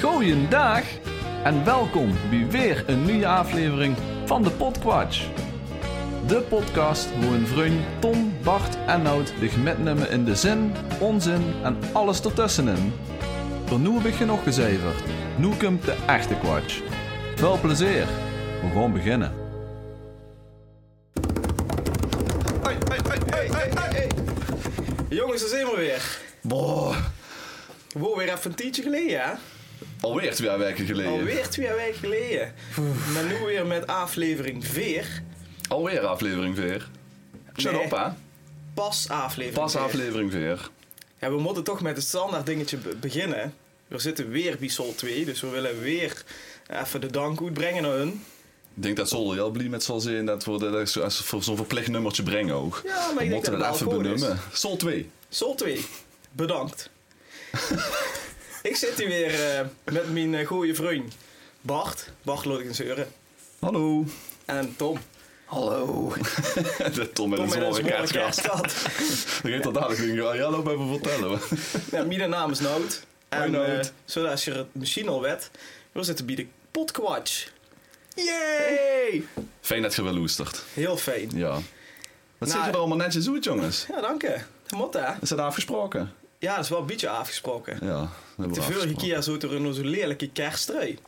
Goeiedag en welkom bij weer een nieuwe aflevering van de Podquatch. De podcast hoe een vriend Tom, Bart en Nout zich metnemen in de zin, onzin en alles ertussenin. Voor nu heb ik genoeg gezeverd. Nu komt de echte Quatsch. Veel plezier. We gaan beginnen. Jongens, daar zijn we weer. Boah, Wow, weer even een tientje geleden, hè? alweer twee weken geleden. Alweer twee weken geleden. Maar nu weer met aflevering 4. Alweer aflevering 4. Shut Nee. op, hè. Pas aflevering Pas vier. aflevering 4. Ja, we moeten toch met het standaard dingetje be- beginnen. We zitten weer bij Sol 2, dus we willen weer even de dank uitbrengen naar hun. Ik denk dat Sol er heel blij met zal zijn dat we dat zo- als we voor zo'n verplicht nummertje brengen ook. Ja, maar ik we denk moeten dat het wel goed is. benoemen. Sol 2. Sol 2, bedankt. Ik zit hier weer eh, met mijn eh, goede vriend Bart, Bart Lodgenseuren Hallo. en Tom. Hallo. Tom met een Tom en zware onze kaartkast. kerstkat. Ik weet dat dadelijk. denk ik, Ja, loop even vertellen. Ja, mijn naam is Nout. Hoi, En Nout. eh, zoals je het misschien al weet, we zitten bij de Podquatch. Yay! Fijn dat je wel loestert. Heel fijn. Ja. Wat zeg Nou, je er allemaal netjes uit, jongens? Ja, dank je. Dat moet, hè? Is dat afgesproken? Ja, dat is wel een beetje afgesproken. Ja, dat hebben we De vorige afgesproken. keer zoet er een zo'n lelijke kersttrui.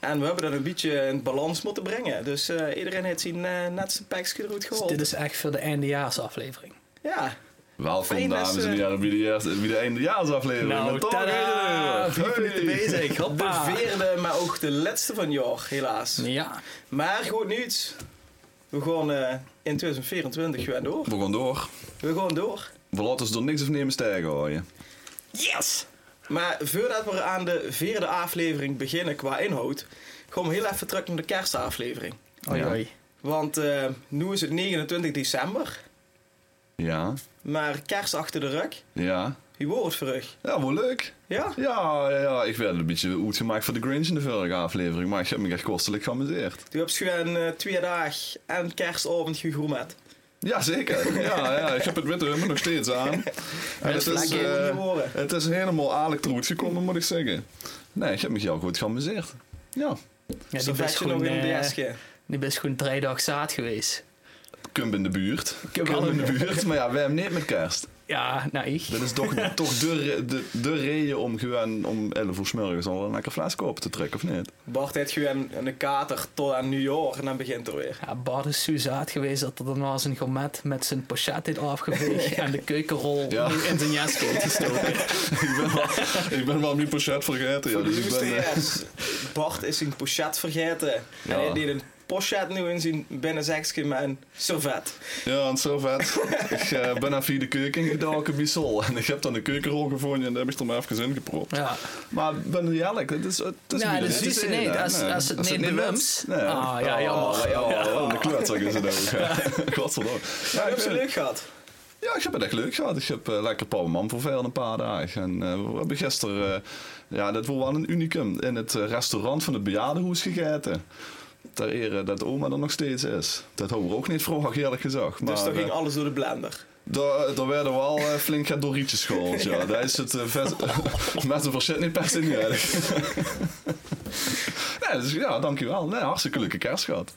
En we hebben dat een beetje in balans moeten brengen. Dus eh, iedereen heeft zijn eh, net zijn pakje eruit Dus geholpen. dit is echt voor de eindejaarsaflevering. Ja, Welkom, Fijn dat dames ze- en heren, bij de, eerste- bij de eindejaarsaflevering. Nou, Met Tom tada! Gedeler. eh, Vier Hey. minuten bezig. Hoppa. de vierde, maar ook de laatste van het jaar, helaas. Ja. Maar goed nieuws. We gaan eh, in 2024 weer door. We gaan door. We gaan door. We laten ons door niks of nemen stijgen gooien. Yes! Maar voordat we aan de vierde aflevering beginnen qua inhoud, gaan we heel even terug naar de kerstaflevering. Oei, Ja. oei. Want eh, nu is het 29 december, Ja, maar kerst achter de rug, ja. wie wordt het verrug? Ja, wel leuk. Ja? Ah, Ja, ja, ja, ik werd een beetje uitgemaakt voor de Grinch in de vorige aflevering, maar ik heb me echt kostelijk geamuseerd. Toen heb je gewoon eh, twee dagen en kerstavond gegroemet. Ja, zeker. Ja, ja, ik heb het witte hummer nog steeds aan. En het, is, lekker. eh, Niet horen. het is helemaal aardig troet gekomen, moet ik zeggen. Nee, ik heb me heel goed geamuseerd. Ja, Ja, Dus die dan best vet je nog gewoon, in een eh, DS'je. die best gewoon drie dagen zaad geweest. Kump in de buurt. Kump Kump in de buurt, maar ja, wij hebben niet met kerst. Ja, nou ik. Dat is toch, toch de, re- de, de reden om gewoon om 11 uur 's morgens al een lekker fles kopen te trekken, of niet? Bart heeft gewoon een kater tot aan New York en dan begint er weer. Ja, Bart is zo zaad geweest dat er daarna zijn gourmet met zijn pochet heeft afgeveegd en de keukenrol Ja. in zijn jas heeft gestoken. ik, ben wel, ik ben wel mijn pochet vergeten. Ja, Voor dus de ik ben, nieuwste eh, yes. Bart is zijn pochet vergeten. Ja. En hij deed een pochet nu in zijn binnenzakje met een servet. ja, en zo vet. ik eh, ben even de keuken gedoken bij Sol. En ik heb dan een keukenrol gevonden en daar heb ik er maar even in gepropt. Ja. Maar ik ben eerlijk, dat is... Dat is Ja, niet- dat het is dus één, nee, hè? dat is- Nee, als het niet niet benoemt. wet. Nee. Ah, ja, jammer. Ja, wat een klootzak is het ook. Ja. Godverdomme. Ja, Maar ik heb ze ben- leuk gehad. Ja, ik heb het echt leuk gehad. Ik heb eh, lekker Paul Man voor veel een paar dagen. En eh, we hebben gisteren, eh, ja, dat was wel een unicum, in het eh, restaurant van het bejaardenhoes gegeten. Ter ere dat oma er nog steeds is. Dat houden we ook niet vroeg, eerlijk gezegd. Maar Dus toen eh, ging alles door de blender. daar, daar werden wel eh, flink gaat Dorietjes gehaald, ja. Daar is het eh, vet, met een verschil niet per se niet erg. nee, dus ja, dankjewel. Nee, hartstikke leuke kerst gehad.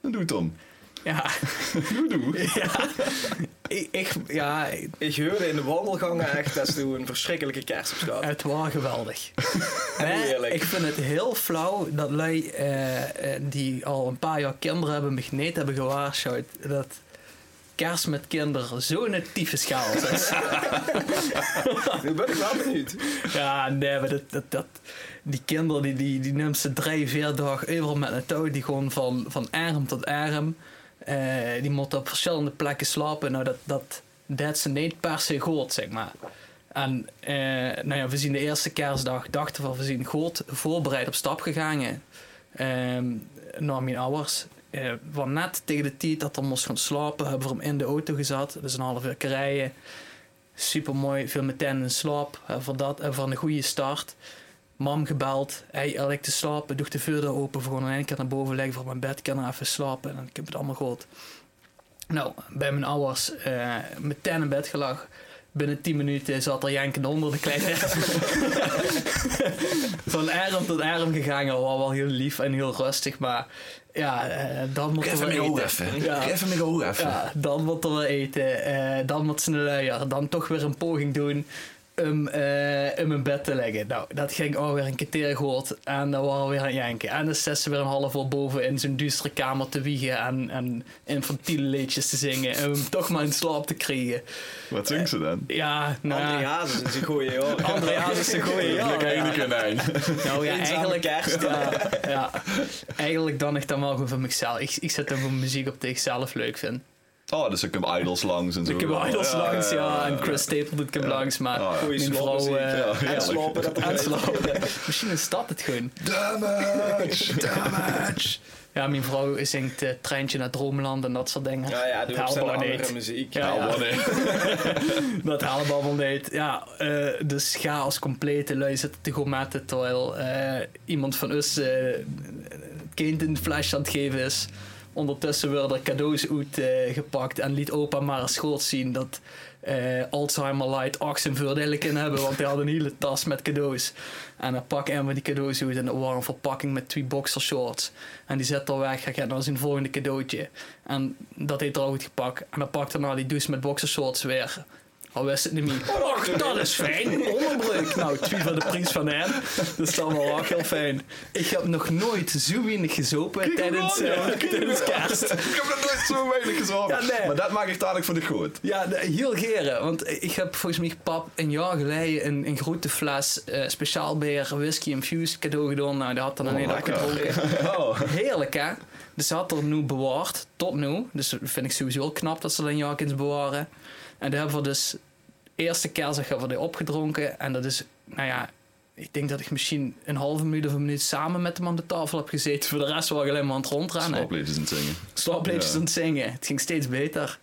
Dat doe Tom. Ja. Doe, doe. Ik, ik, ja, Ik hoorde in de wandelgangen echt dat ze een verschrikkelijke kerst op schat. Het was geweldig. Hè? Heerlijk. ik vind het heel flauw dat lui eh, eh, die al een paar jaar kinderen hebben begneed hebben gewaarschuwd dat kerst met kinderen zo'n tyfus chaos is. Nu ben ik wel benieuwd. Eh, ja, nee, maar dat, dat, dat, die kinderen die, die, die nemen ze drie, vier dagen overal met een touw. Die gewoon van, van arm tot arm. eh, die moeten op verschillende plekken slapen. Nou, dat, dat, dat ze niet per se goed, zeg maar. En eh, nou ja, we zien de eerste kerstdag, dachten we, we zien God voorbereid op stap gegaan ehm naar mijn ouders. Eh, want net tegen de tijd dat we moest gaan slapen, hebben we hem in de auto gezet. Dus een half uur rijden. Super mooi, veel meteen in slaap. Eh, voor dat en van een goede start. Mam gebeld, hij hey, ligt te slapen, doe de voordeur open, voor gewoon een keer naar boven liggen voor mijn bed, kan er even slapen en dan komt het allemaal goed. Nou, bij mijn ouders eh, meteen in bed gelag. Binnen 10 minuten zat er jankend onder de kleine Van arm tot arm gegaan, al wel heel lief en heel rustig. Maar ja, eh, dan moet er Geef hem wel ik ook eten. even. Ja. Geef hem ik ook even. Ja, dan wat er wel eten, eh, dan wat sneller, dan toch weer een poging doen om eh hem in bed te leggen. Nou, dat ging alweer een keer gehoord en dan waren we weer aan het janken. En dan zat ze weer een half uur boven in zo'n duistere kamer te wiegen en, en infantiele liedjes te zingen om hem toch maar in slaap te krijgen. Wat zingt ze dan? Ja, nou ja. André Hazes is een goeie hoor. André Hazes is een goeie, ja. Gelukkig één konijn. Nou ja, Eenzame eigenlijk, kerst. ja, ja. eigenlijk dan ik dan wel gewoon voor mezelf. Ik, ik zet dan gewoon muziek op die ik zelf leuk vind. Oh, dus ik heb idols langs en zo. Ik heb Idols Ja, langs, ja, en Chris Stapleton komt langs, maar Ah, ja. Goeie mijn vrouw... slopmuziek, eh, ja, En heerlijk. slapen dat er Aanslapen. Misschien is dat het gewoon. Damage! Damage! Ja, mijn vrouw zingt eh, Treintje naar Droomland en dat soort dingen. Ja, ja, doe dat op helpt andere niet. muziek. Ja, Nou, wanneer? Dat helpt allemaal niet. Ja, eh, dus ga als complete lui zitten te gourmetten terwijl eh, iemand van ons eh, het kind een flesje aan het geven is. Ondertussen werden er cadeaus uitgepakt en liet opa maar een schoot zien dat eh, Alzheimer Light Oxen voordelen kan hebben, want die had een hele tas met cadeaus. En dan pak Emma die cadeaus uit en dat waren een verpakking met twee boxershorts. En die zet er weg, hij gaat naar zijn volgende cadeautje. En dat heeft er ook uitgepakt. En dan pakte hij die douche met boxershorts weer. Al wist het Oh, niet meer. Och, dat is fijn. Onderbreuk. Nou, twee van de prins van hem. Dat is dan wel ook heel fijn. Ik heb nog nooit zo weinig gezopen tijdens, aan, eh, tijdens kerst. Ik heb nog nooit zo weinig gezorgd. Ja, nee. Maar dat maak ik dadelijk voor de goed. Ja, de- heel geren. Want ik heb volgens mij pap een jaar geleden een, een grote fles eh, speciaal beer whisky infused cadeau gedaan. Nou, dat had dan Oh, een hele lekker. opgedronken. Oh. Heerlijk, hè? Dus ze had er nu bewaard, tot nu. Dus dat vind ik sowieso wel knap dat ze dat in Jakins bewaren. En daar hebben we dus eerste kerstdag hebben we die opgedronken. En dat is, nou ja, ik denk dat ik misschien een halve minuut of een minuut samen met hem aan de tafel heb gezeten. Voor de rest waren we alleen maar aan het rondrennen. Slaapleefjes aan het zingen. Slaapleefjes Ja. aan het zingen. Het ging steeds beter.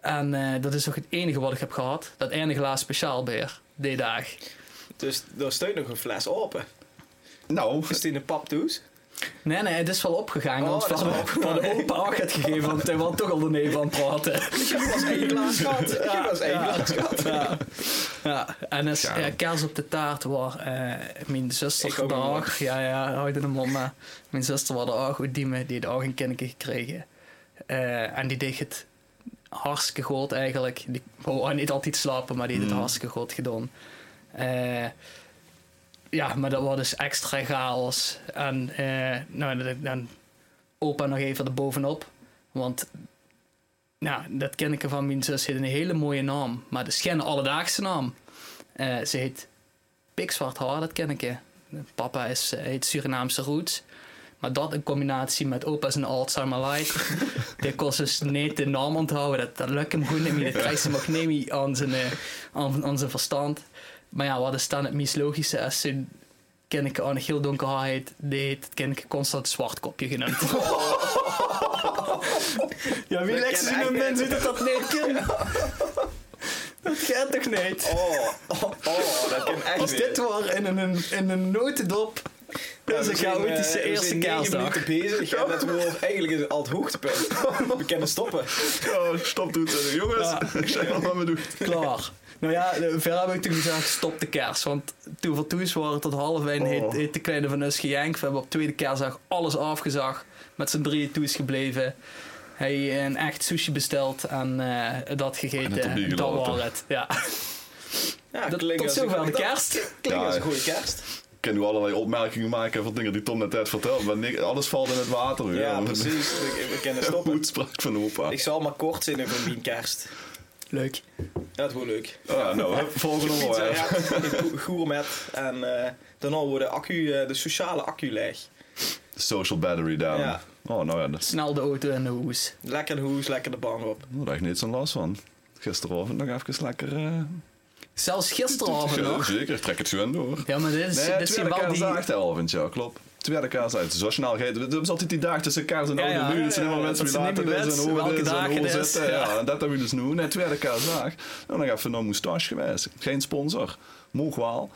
En eh, dat is ook het enige wat ik heb gehad. Dat ene glaas speciaal beer, die dag. Dus daar steunt nog een fles open. Nou, Is die in de papdoes? Nee, nee, het is wel opgegaan. Oh, want we dat is wel hadden we hadden opa ook het gegeven, want hij was toch al de neef aan het praten. Ik heb pas één glaas gehad. Ik heb pas één ja. glaas gehad. Ja. ja, en dus, Ja. ja. kaas op de taart waar eh, mijn zuster Ik ook daar nog. ook, ja, ja, houd in de mond, maar mijn zuster was er ook goed die me- die had ook een kindje gekregen. Eh, en die deed het hartstikke goed eigenlijk. Die wou niet altijd slapen, maar die deed het Mm. hartstikke goed gedaan. Eh, ja, maar dat was dus extra chaos. En eh, nou, dat ik dan opa nog even erbovenop. Want nou, dat kindje van mijn zus heeft een hele mooie naam. Maar dat is geen alledaagse naam. Eh, ze heet pikzwart haar, dat kindje. Papa is, eh, heet Surinaamse roots. Maar dat in combinatie met opa's en Alzheimer light. die kost dus niet de naam onthouden. Dat, dat lukt hem goed niet meer. Dat krijgt ze nog niet meer aan zijn, eh, aan, aan zijn verstand. Maar ja, wat is dan het meest logische als zo'n kindje aan een heel donker haar heet? Die heeft het kindje constant zwartkopje genoemd. ja, wie Dat legt kan ze echt een mens niet. uit dat dat niet kind? dat gaat toch niet? Oh, oh, oh, dat kan echt Als niet. dit was in een, in een notendop. Ja, Dat is we een zijn, chaotische eh, we eerste zijn negen kerstdag. minuten bezig en dat we eigenlijk is het al het hoogtepunt. We kunnen stoppen. oh, stop doet ze. Jongens, Ja. ik zeg wel wat we doen. Klaar. Nou ja, eh, verder heb ik toen gezegd, stop de kerst. Want toen voor toes waren tot half Oh. één, heet, heet de kleine van ons gejankt. We hebben op tweede kerstdag alles afgezag. Met z'n drieën toes gebleven. Hij een echt sushi besteld en eh, dat En het opnieuw gegeten. Dat gelopen. was het, ja. Ja, Dat- klinkt tot als een zover de goeie- kerst. dat Klinkt als een Ja. goede kerst. Ik kan nu allerlei opmerkingen maken van dingen die Tom net net vertelde. Maar niks- alles valt in het water. hoor. Ja, precies. We we kunnen Een stoppen. uitspraak van opa. Ik zal maar kort zinnen van mijn kerst. Leuk. Dat wordt leuk. Ah, nou, hup, volgende Pizza onderwerp. wrap, gourmet en eh, daarna wordt de, accu, eh, de sociale accu leeg. Social battery down. Ja. Oh, nou ja, dat Snel de auto en de hoes. Lekker de hoes, lekker de bank op. Nou, daar heb ik niet zo'n last van. Gisteravond nog even lekker... eh, Zelfs gisteravond nog. Zeker, trek het zo aan door. Ja, maar dit is, Nee, dit Dus is die tweede bal die... kerstdag de avond, ja, klopt. Tweede kerstdag, zo snel gaat het. We hebben altijd die dag tussen kerst en Ja, oude ja, nu. ja, Het zijn ja, helemaal ja, mensen die dat later dus zijn dit en nieuwe hoe mensen, dit welke en hoe dagen het zitten. is. Ja, en dat hebben we dus nu. Nee, tweede kerstdag. En dan even naar Moustache geweest. Geen sponsor. Moog wel.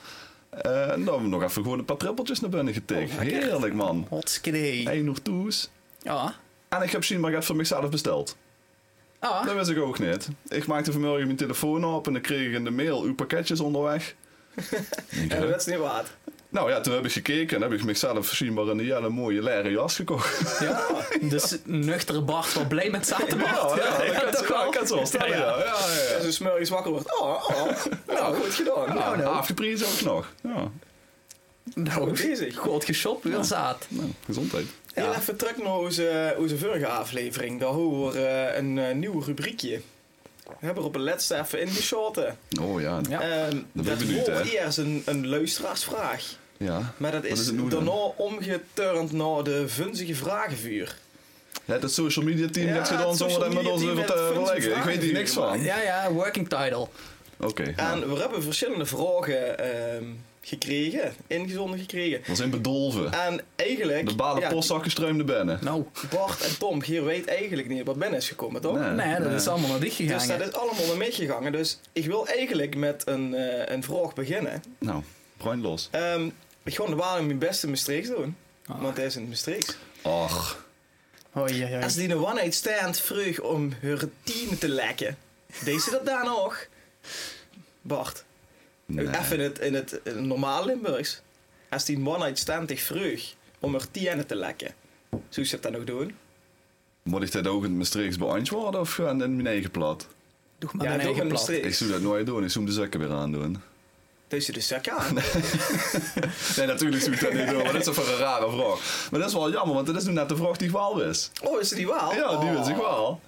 Eh, en dan hebben we nog even gewoon een paar trippeltjes naar binnen getikt. Oh, Heerlijk, man. Hotskidee. Ah. Eén nog toes. Ja. En ik heb zien maar even voor mezelf besteld. Ah, Dat wist ik ook niet. Ik maakte vanmorgen mijn telefoon op en dan kreeg ik in de mail uw pakketjes onderweg. Ik En denk, dat is niet Oh, waard. nou ja, toen heb ik gekeken en heb ik mezelf zienbaar een hele mooie leren jas gekocht. ja. Dus nuchtere Bart wel blij met zaterdag. dat kan het- dat kan het zo stellen, Ja, ja. ja. ja. ja, ja. Als een smurries wakker wordt. Oh, oh. Nou, goed gedaan. Ja, Nou, nou. afgeprezen ook nog. Ja, Nou, Goed bezig. goed geshopt, weer zaad. nou, gezondheid. Heel Ja. even terug naar onze, onze vorige aflevering. Daar horen we eh, een eh, nieuw rubriekje. We hebben er op een laatste even ingeschoten. Oh ja. Ja. Ja. Ehm, ben dat ik benieuwd, wordt hè. eerst een, een luisteraarsvraag. Ja. Maar dat Wat is, is het nu dan? daarna omgeturnd naar de vunzige vragenvuur. dat social media team Ja, gaat gedaan het zonder dat social met ons media even team te heeft funzige verleggen. Ik weet hier vragen niks Ja, van. ja, working title. Oké. ja. En we hebben verschillende vragen ehm, gekregen, ingezonden gekregen. We zijn bedolven. En eigenlijk... De balen ja, postzakken streumden binnen. Nou, Bart en Tom hier weet eigenlijk niet wat binnen is gekomen, toch? nee, dat is allemaal naar dicht Dus gegaan. dat is allemaal naar mij gegangen. Dus ik wil eigenlijk met een, eh, een vraag beginnen. Nou, bruin los. Ehm, ik ga de waarom mijn beste Maastricht doen. Ah. Want hij is in Maastricht. Ach, Hoi, hoi, Als die een one-night stand vroeg om haar team te lekken, deed ze dat daar nog? Bart, nee. even in het, in het eh, normaal Limburgs. Als die een one-night stand zich vroeg om haar team te lekken, zou ze dat nog doen? Moet ik dat ook in het Maastrichts beantwoorden of gewoon in mijn eigen plat? Doe maar ja, een dat ook eigen in plat. Maastricht. Ik zou dat nooit doen, ik zou hem de zakken weer aandoen. Deed ze de zak aan? Nee, natuurlijk zou ik dat niet doen, maar dat is toch voor een rare vraag. Maar dat is wel jammer, want dat is nu net de vraag die ik wel wist. Oh, is ze die wel? Ja, die wist ik wel.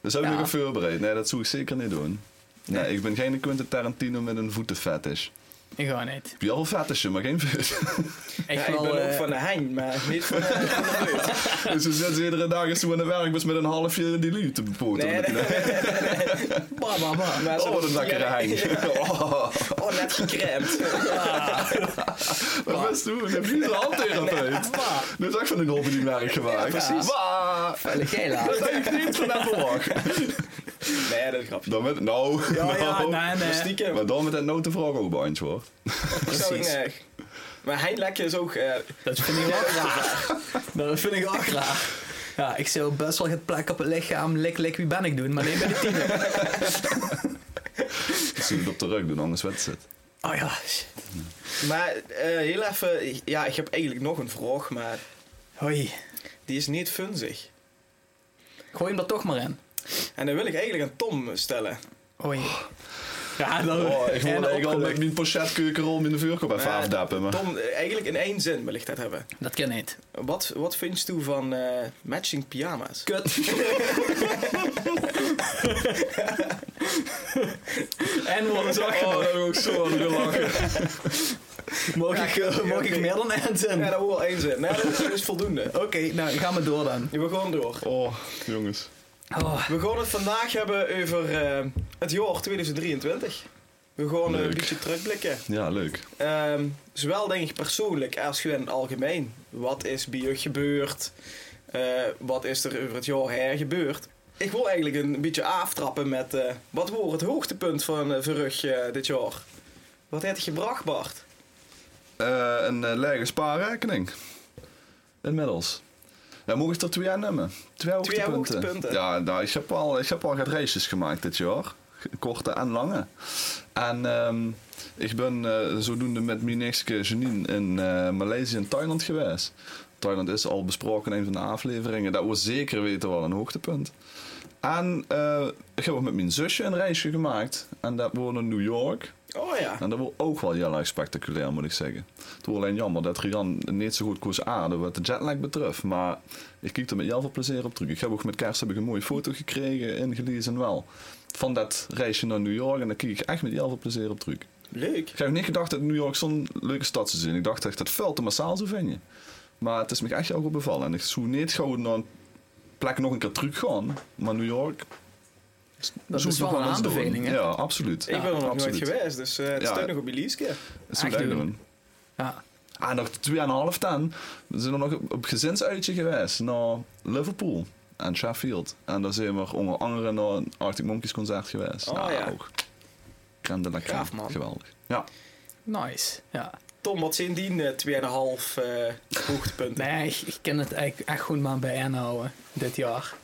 Dus heb ik Ja. nog een voorbereid. Nee, dat zou ik zeker niet doen. Nee, ik ben geen Quentin Tarantino met een voetenfetish. Ik ga niet. Ik heb wel veel fetishen, maar geen voet. Ja, Echt ik wel, ben ook eh, van de hein, maar niet van de dus ze zitten ze iedere dag eens toe aan de werkbus met een halfje die lui te poten. Nee, met die- bah, bah, bah. maar ze- Oh, wat een lekkere Ja, hein. Oh. Oh, net gecremd. Wat best doen? Een vieze handtherapeut. Dit is echt van een golf die merk gemaakt. Ja, precies. Waar? Veilig jij Dat denk ik niet van Apple Nee, dat is grappig. Dan met... Nou, Ja, ja, nou. nee, Maar nee. Stiekem, Maar dan met dat notenvraag ook beantwoord. zou ik precies. niet. Maar hein lekken is ook... eh, Dat vind ik wel graag. Dat vind ik wel graag. Ja, ik zou best wel het plek op het lichaam, lek, lek, wie ben ik doen, maar nee, ben ik tien. Ik zie het op de rug doen, anders wet zit. Oh ja, shit. maar eh, heel even... Ja, ik heb eigenlijk nog een vraag, maar Hoi. die is niet funzig. Gooi hem er toch maar in. En dan wil ik eigenlijk aan Tom stellen. Hoi. Ja, dan Oh, ik en moet eigenlijk al met opgelucht. mijn pochetkeurkerol in de vuurkop even Maar afdappen. Maar. Tom, eh, eigenlijk in één zin wil ik dat hebben. Dat kan niet. Wat, wat vind je van eh, matching pyjama's? Kut. en we worden zo Oh, achter. daar heb ik ook zo aan gelachen. Mag ik, eh, mag ik meer dan één zin? Ja, Oké, dat wordt één zin. Nee, dat is, dat is voldoende. nou, gaan we door dan. We gaan door. Oh, jongens. Oh, We gaan het vandaag hebben over eh, het jaar 2023. We gaan eh, een Leuk. beetje terugblikken. Ja, leuk. Ehm, zowel denk ik persoonlijk als gewoon in het algemeen. Wat is bij je gebeurd? Eh, wat is er over het jaar her gebeurd? Ik wil eigenlijk een beetje aftrappen met eh, wat wordt het hoogtepunt van eh Verrug eh, dit jaar? Wat heeft het gebracht, Bart? Eh, een eh, lege spaarrekening. Inmiddels. Dan mocht ik er twee aan nemen. Twee hoogtepunten. hoogtepunten. Ja, nou, ik heb al, ik heb al wat races gemaakt dit jaar. Korte en lange. En ehm, ik ben eh, zodoende met mijn nichtske Janine in eh, Maleisië en Thailand geweest. Thailand is al besproken in een van de afleveringen. Dat was zeker weten wel een hoogtepunt. En eh, ik heb ook met mijn zusje een reisje gemaakt. En dat wordt naar New York. Oh ja. En Nou, dat wordt ook wel heel erg spectaculair, moet ik zeggen. Het wordt alleen jammer dat Rian niet zo goed koers aarde wat de jetlag betreft. Maar ik kijk er met heel veel plezier op terug. Ik heb ook met kerst heb ik een mooie foto gekregen, ingelezen wel. Van dat reisje naar New York. En daar kijk ik echt met heel veel plezier op terug. Leuk. Ik heb niet gedacht dat New York zo'n leuke stad zou zijn. Ik dacht echt dat het veel te massaal zou vinden. Maar het is me echt heel goed bevallen. En ik zou niet gewoon naar een plek nog een keer terug gaan. Maar New York... dat zoek is ik wel nog een eens door. aanbeveling, hè? Ja, absoluut. ik ben er nog absoluut. nooit geweest, dus eh het Ja. staat nog op je lijstje. Dat zou Echt ik doen. doen. Ja. Ah, nog 2,5 dan. We zijn er nog op, op gezinsuitje geweest naar Liverpool en Sheffield. En daar zijn we onder andere naar een Arctic Monkeys concert geweest. Oh, nou, ja. ook. Crème de la crème. Gaaf, man. Geweldig. Ja. Nice. Ja. Tom, wat zijn die eh, 2,5 eh hoogtepunten? Nee, ik, ik ken het eigenlijk echt goed maar bij inhouden dit jaar.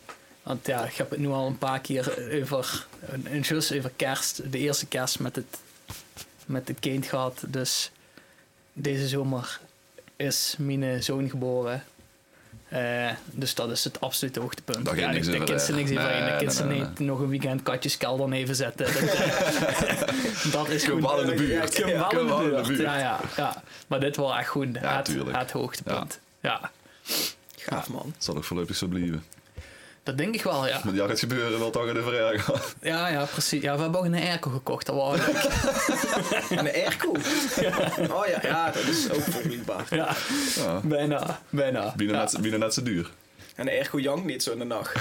Want ja, ik heb het nu al een paar keer over, een just over kerst, de eerste kerst met het, met het kind gehad. Dus deze zomer is mijn zoon geboren. Eh, dus dat is het absolute hoogtepunt. Daar gaat niks de over kind ze weg. niks over Nee, in. De nee, kind ze nee, niet nog een weekend katjeskelder even zetten. Dat, eh, dat is goed. Kumbal in de Ja, buurt. Kumbal Wel in de Kumbal buurt, Ja, ja, ja. Maar dit was echt goed. Ja, het, tuurlijk. het hoogtepunt. ja, Gaaf man. Het zal ook voorlopig zo blijven. dat denk ik wel, ja. Met ja, het gebeuren wil toch in de verjaardag. Ja, ja, precies. Ja, we hebben ook een airco gekocht. Dat was leuk. En een airco. Oh ja, ja, dat is ook vergelijkbaar. ja, Ja. bijna, bijna. Binnen, net, binnen net zo duur. En een airco jankt niet zo in de nacht.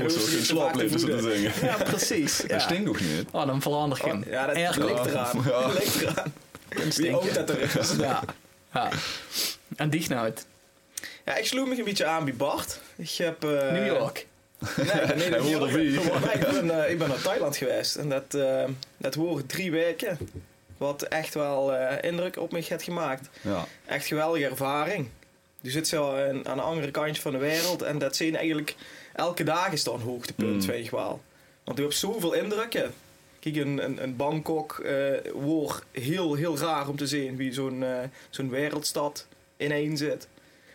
Moet zo geen slaap leven zo te zingen. Ja, precies. Dat Ja. stinkt nog niet. Oh, dan verander ik hem. Oh, ja, dat airco. ligt eraan. Ja. Dat ligt eraan. Dan Wie stink je. ook dat er is. Ja. ja. En die uit. Ja, ik sloeg me een beetje aan bij Bart. Ik heb... eh, New York. Nee, nee, nee, Hij New York. hoorde wie. Maar ik, ben, eh, ik ben naar Thailand geweest. En dat, eh dat horen drie weken. Wat echt wel eh, indruk op me heeft gemaakt. Ja. Echt geweldige ervaring. Je zit zo aan, aan de andere kant van de wereld. En dat zien eigenlijk... Elke dag is dan een hoogtepunt, Mm. weet je wel. Want je hebt zoveel indrukken. Kijk, een, een, een Bangkok eh wordt heel, heel raar om te zien wie zo'n eh, zo'n wereldstad ineen zit.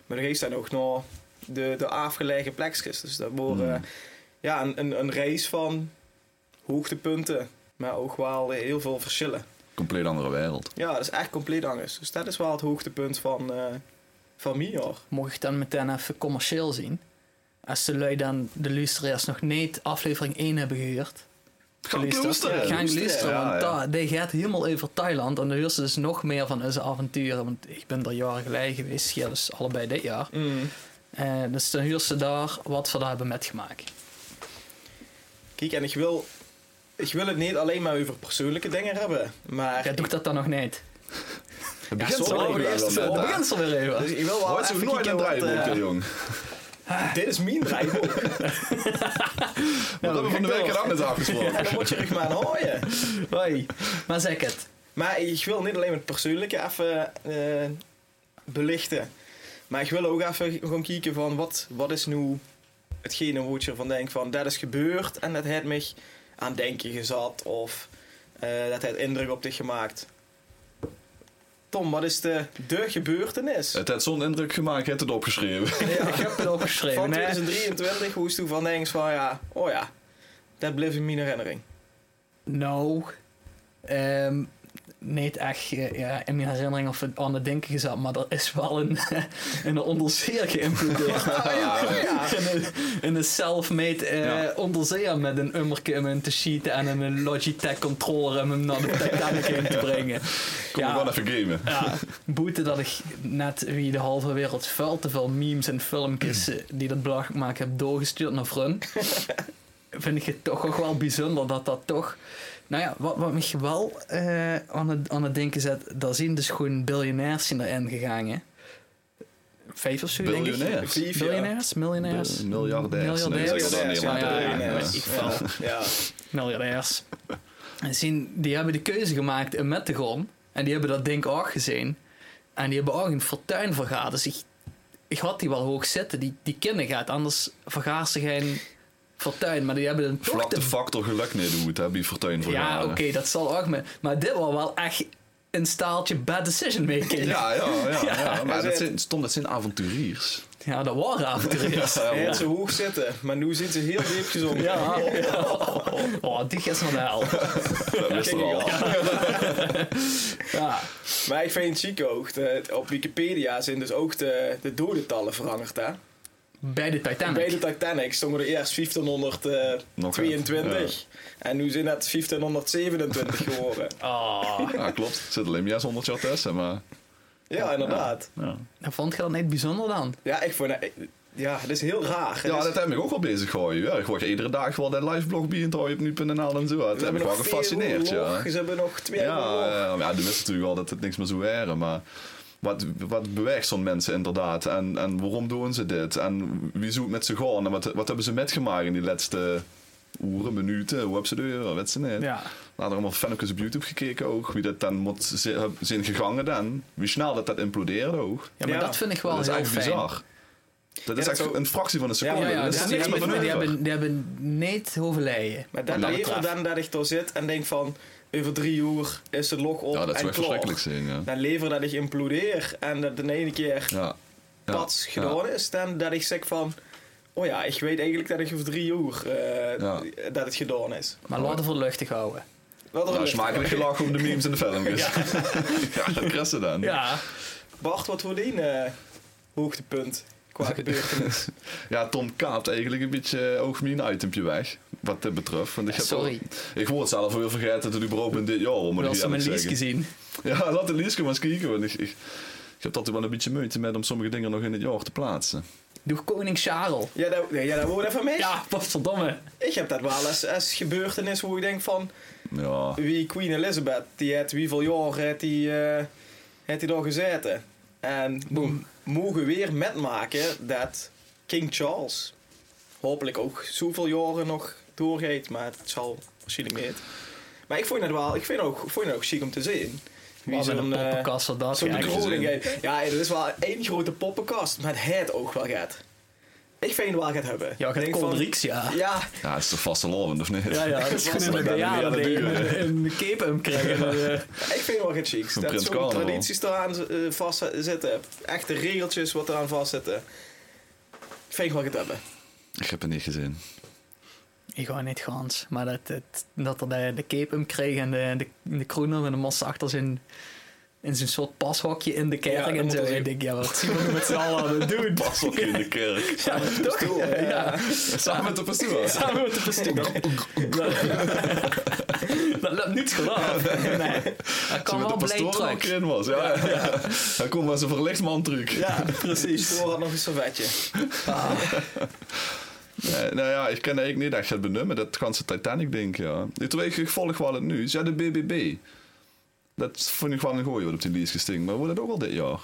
Maar dan geeft hij nog naar de, de afgelegen plekjes. Dus dat wordt eh, Mm. ja, een, een, een race van hoogtepunten, maar ook wel heel veel verschillen. Compleet andere wereld. Ja, dat is echt compleet anders. Dus dat is wel het hoogtepunt van, eh van Mior. Mocht ik dan meteen even commercieel zien. Als de lui dan de luisteraars nog niet aflevering 1 hebben gehuurd. Gaan geluisterd, luisteren. Gaan luisteren, Ja, want ja. daar- die gaat helemaal over Thailand. En de huurt ze dus nog meer van onze avonturen. Want ik ben er jaren geleden geweest. Ja, dus allebei dit jaar. Eh, dus dan huurt ze daar wat we daar hebben metgemaakt. Kijk, en ik wil, ik wil het niet alleen maar over persoonlijke dingen hebben, maar... Ja, doe ik dat dan nog niet? Oh, Het Ja, begint sorry, zo ik ben eerst eerst te zo Dan Ja. begint ze weer even. Dus ik wil wel Hoort ze even nooit kijken wat, een draaiboek, eh, hè, jong. Dit is mijn draaiboek. Wat hebben we van de week gedaan met en afgesproken? dan moet je er maar aan hooien. Hoi. Maar zeg het. Maar ik wil niet alleen het persoonlijke even eh, belichten. Maar ik wil ook even gewoon kijken van wat, wat is nu hetgene waar ik ervan denk van dat is gebeurd en dat heeft mij aan denken gezet of eh, dat heeft indruk op dich gemaakt. Tom, wat is de, de gebeurtenis? Het heeft zo'n indruk gemaakt, je hebt het opgeschreven. Ik heb het opgeschreven. van hè. 2023, hoe is toen van denk van ja, oh ja, dat bleef in mijn herinnering. Nou, ehm, niet echt eh, ja, in mijn herinnering of het aan het denken gezet, maar er is wel een, een onderzeer geïmplodeerd. In een, in een self-made eh, Ja. onderzeer met een ummerke om hem te cheaten en een Logitech controller om hem naar de Titanic heen te brengen. Kom Ja. maar gewoon even gamen. Ja, boete dat ik net wie de halve wereld vuil te veel memes en filmpjes eh, die dat belachelijk maken heb doorgestuurd naar Frun. Vind ik het toch ook wel bijzonder dat dat toch... Nou ja, wat, wat me wel eh, aan, het, aan het denken zet, daar zien dus gewoon biljonairs zijn erin gegaan, hè. Vijf of zo, denk ik. Biljonairs. Vier, ja. Biljonairs? Miljonairs? Bil- miljardairs. Nee, Miljardairs. zeggen ze dan in Nederland. Ja, ja, ja, Biljonairs. maar ik val Ja. miljardairs. En zien, die hebben de keuze gemaakt in Mettegon. En die hebben dat ding ook gezien. En die hebben ook een fortuin vergaard. Dus ik, ik had die wel hoog zitten, die, die kinderen gaat. Anders vergaar ze geen fortuin. Maar die hebben dan toch Vlak de te- factor geluk neer doen, heb je fortuin voor Ja, oké, dat zal ook. Maar, maar dit was wel echt een staaltje bad decision making. Ja, Ja, ja, ja, ja. Maar Ja. dat zijn, stom, dat zijn avonturiers. dat waren avonturiers. Ja, Hij hoor. had ze hoog zitten, maar nu zit ze heel diepjes onder. Ja, Oh, die gaat naar de hel. dat wist Ken er ik al. Ja. Maar ik vind het ziek ook. de- op Wikipedia zijn dus ook de, de dodentallen veranderd. Hè? Bij de Titanic. Bij de Titanic stonden er eerst 1522. En nu zijn het 1527 geworden. Oh. Ja, klopt. Er zit alleen maar juist 100 jaar tussen, maar... Ja, inderdaad. Ja, Dan vond je dat niet bijzonder dan? Ja, ik vond dat- Ja, dat is heel raar. Dus Het ja is- dat heb ik ook wel bezig gehouden. Ja, ik word iedere dag wel dat live blog bij op nu.nl en zo. Dat heb ik wel nog vier gefascineerd, ja. oorlogen, Ze hebben nog twee Ja, oorlogen. eh, maar ja, die wisten natuurlijk wel dat het niks meer zou waren, maar wat, wat beweegt zo'n mensen inderdaad? En, en waarom doen ze dit? En wie zoekt met ze gaan? En wat, wat hebben ze metgemaakt in die laatste uren, minuten? Hoe hebben ze de uren? Weet ze niet. Ja. Later allemaal filmpjes op YouTube gekeken ook. Wie dat dan moet zi- zijn gegangen dan. Wie snel dat dat implodeerde ook. Ja, maar Ja. dat vind ik wel dat is heel echt fijn. dus bizar. Ja, Dat is dat echt is ook- een fractie van een seconde. Ja, ja, dat die, is dat niks meer van hebben, die, over. hebben, die hebben niet hoeven leiden. Maar Wat dat dat leert wel betreft. dan dat ik daar zit en denk van, over drie uur is het log op Ja, dat zou en echt klaar. verschrikkelijk zijn, ja. Dan lever dat ik implodeer en dat de ene keer Ja. Ja. pats gedaan is, dan dat ik zeg van, oh ja, ik weet eigenlijk dat ik over drie uur eh, Ja. dat het gedaan is. Maar laten we het luchtig houden. Wat Oh, een Nou, lucht. smakelijk gelachen om de memes in de filmpjes. ja. dat krijg je dan. Ja. Bart, wat wordt die eh, hoogtepunt qua gebeurtenis? Ja, Tom kaapt eigenlijk een beetje eh, oog mijn itempje weg. Wat dit betreft. Want ik Ja, heb al- sorry. ik word zelf weer vergeten dat u brood bent dit jaar, om We het hadden eerlijk mijn te lease zeggen. gezien. Ja, laat de Lieske maar eens kijken. Want ik, ik, ik heb altijd wel een beetje moeite met om sommige dingen nog in het jaar te plaatsen. Door koning Charles. ja, dat, nee, ja, dat wordt even mee. Ja, potverdomme. Ik heb dat wel eens als gebeurtenis hoe ik denk van, Ja, wie Queen Elizabeth, die heeft wieveel jaar heeft die, eh heeft die daar gezeten. En Boem. m- mogen weer metmaken dat King Charles hopelijk ook zoveel jaren nog doorgeeft, maar het zal waarschijnlijk niet. Maar ik vond het wel, ik vind het ook, ik vond het ook chic om te zien. Wat een eh, poppenkast wat dat. zo'n Ja, kroon. bekroning gezien. heeft. Ja, er is wel één grote poppenkast, maar het ook wel gaat. Ik vind het wel gaat hebben. Ja, Ik het denk van- Koldrieks, ja. Ja, ja het is toch vast een lovend, of niet? Ja, ja, dat is Dat gewoon in was de wel jaren een dat hele je een, een cape hem krijgt. Eh, Ik vind het wel geen chics. Een Dat Prins zo'n Carnaval. tradities eraan eh, vastzitten. Echte regeltjes wat eraan vastzitten. Vind ik wel het hebben. Ik heb het niet gezien. Ik ga niet gans, maar dat, dat, dat er de, de cape hem kreeg en de, de, de kroon en de massa achter zijn, in zijn soort pashokje in de Ja, kerk dat en moet zo. wel Ik denk, ja, wat zien we nu met z'n allen aan het doen? Pas ook in de kerk. Ja, toch? Stoel, Ja, eh, ja. Samen met de pastoor. Samen met de pastoor. Dat loopt niet geloof. Nee. Dat kan Samen wel met de pastoor er ook eh, blij in was. Ja, ja. Hij komt met zijn verlichtman truc. Ja, precies. Voor had nog een servetje. Eh, nou ja, ik ken eigenlijk niet echt het benummer. Dat ganse Titanic ding, ja. Het week gevolg wel het nu. Ja, de BBB. Dat vond ik wel een gooi wat op die lijst gesting. Maar wordt dat ook wel dit jaar?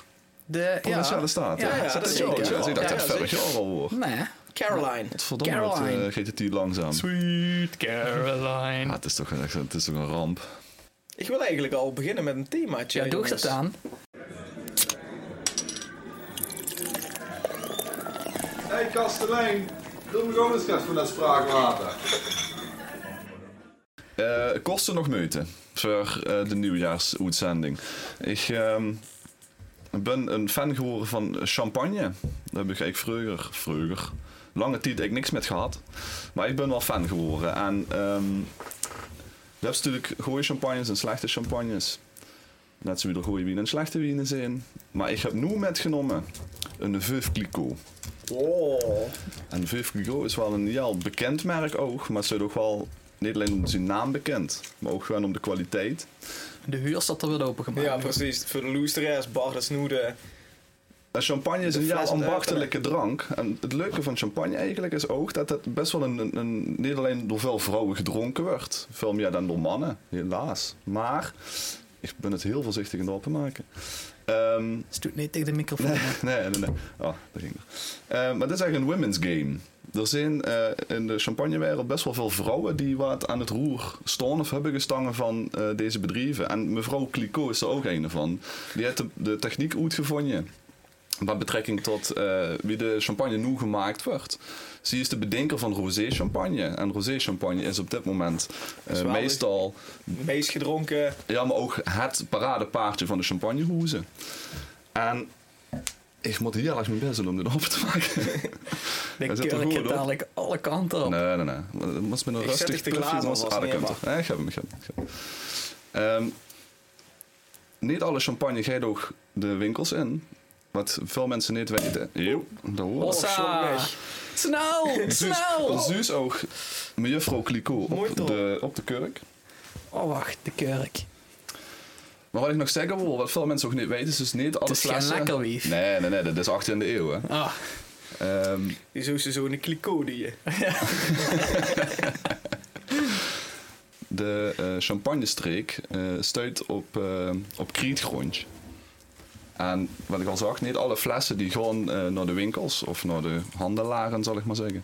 De, Provinciale Staten. Ja, ja, dat is zeker. jaar. Ja, Ja, ik dacht ja, dat het vorig zeker. jaar al wordt. Nee. Caroline. Verdomme, wat eh, Caroline. gaat het hier langzaam. Sweet Ja, Caroline. het is toch een, het is toch een ramp. Ik wil eigenlijk al beginnen met een themaatje. Ja, doe ik jongens. dat aan? Hé hey, Kastelein, doe me gewoon eens gast van dat spraakwater. Eh, kosten nog moeite voor eh, de nieuwjaarsuitzending. Ik ehm, ben een fan geworden van champagne. Daar heb ik eigenlijk vroeger, vroeger, lange tijd ik niks met gehad. Maar ik ben wel fan geworden. En ehm je hebt natuurlijk goede champagnes en slechte champagnes. Net zo weer goede wien en slechte wienen zijn. Maar ik heb nu metgenomen een Veuve Clicquot. Oh. En Veuve Clicquot is wel een heel bekend merk ook, maar het is ook wel niet alleen om zijn naam bekend, maar ook gewoon om de kwaliteit. De huur staat er weer opengemaakt. Ja, precies. Voor de loesteres, bar de snoede. En champagne is De een heel fles en de ambachtelijke drank. En het leuke van champagne eigenlijk is ook dat het best wel een, een, een- niet alleen door veel vrouwen gedronken wordt, veel meer dan door mannen, helaas. Maar ik ben het heel voorzichtig in de openmaken. Ehm Ze doet niet tegen de microfoon. nee, nee, nee. Oh, dat ging nog. Eh, maar dit is eigenlijk een women's game. Er zijn eh, in de champagnewereld best wel veel vrouwen die wat aan het roer staan of hebben gestangen van eh, deze bedrijven. En mevrouw Clicquot is er ook een van. Die heeft de, de techniek uitgevonden. Met betrekking tot eh, wie de champagne nu gemaakt wordt. Ze is de bedenker van rosé champagne. En rosé champagne is op dit moment eh, Is wel de- meestal Meest gedronken. ja, maar ook het paradepaardje van de champagnehoezen. En ik moet heel erg mijn best doen om dit op te maken. De Hij zit er kurk goed gaat op. dadelijk alle kanten op. Nee, nee, nee. Het was met een Ik zet rustig echt de plukje. klaar, anders- maar Ah, dat was kan niet toch. Nee, ik heb hem, ik heb hem, ik heb hem. Ehm, niet alle champagne gaat ook de winkels in. Wat veel mensen niet weten. Jo, dat hoor ik. Hossa. Ossa! sorry. Oh, Snel! Zuus, Snel! Zuus ook mejuffrouw Clicot Mooi op toch? de, op de kurk. Oh, wacht, de kurk. Maar wat ik nog zeggen wil, wat veel mensen ook niet weten, is dus niet alle is geen flessen... lekker wief. Nee, nee, nee, dat is 18e eeuw, hè. Ah, Ehm, Die is ook zo'n kliko die je. de eh, champagnestreek eh stuit op, eh op krietgrondje. En wat ik al zag, niet alle flessen die gewoon eh, naar de winkels of naar de handelaren, zal ik maar zeggen.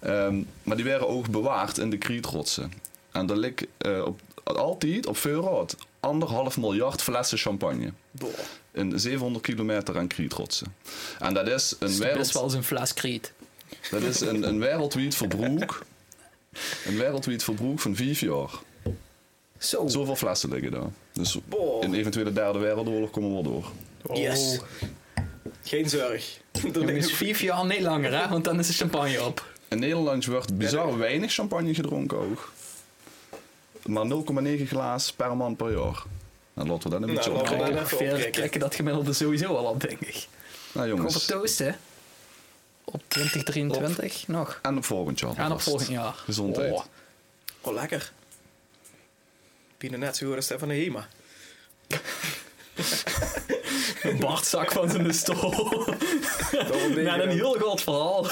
Ehm, maar die werden ook bewaard in de krietrotsen. En daar ligt eh, op, altijd op Veurhout anderhalf miljard flessen champagne. Boah. In 700 kilometer aan Krietrotsen. En dat is een is wereld... best wel eens een fles kriet. Dat is een, een wereldwijd verbruik. Een wereldwijd verbruik van vijf Oh. jaar. Zo. Zoveel flessen liggen daar. Dus Boah. in eventuele derde wereldoorlog komen we wel door. Yes. Geen zorg. Er Jongens, liggen- vier jaar, niet langer hè, want dan is de champagne op. In Nederland wordt bizar weinig champagne gedronken ook. Maar 0,9 glaas per man per jaar. Nou, laten we dat een beetje Nou, laten we opkrikken. dat- even Ongeveer opkrikken. trekken dat gemiddelde sowieso al op, denk ik. Nou Over jongens, toast, hè? Op 2023 nog. en op volgend jaar. Aan op alvast. volgend jaar. Gezondheid. Oh. Oh, lekker. Binnen net zo goed als Stefan de Hema. Een bartzak van zijn stoel. Nou, een heel groot verhaal.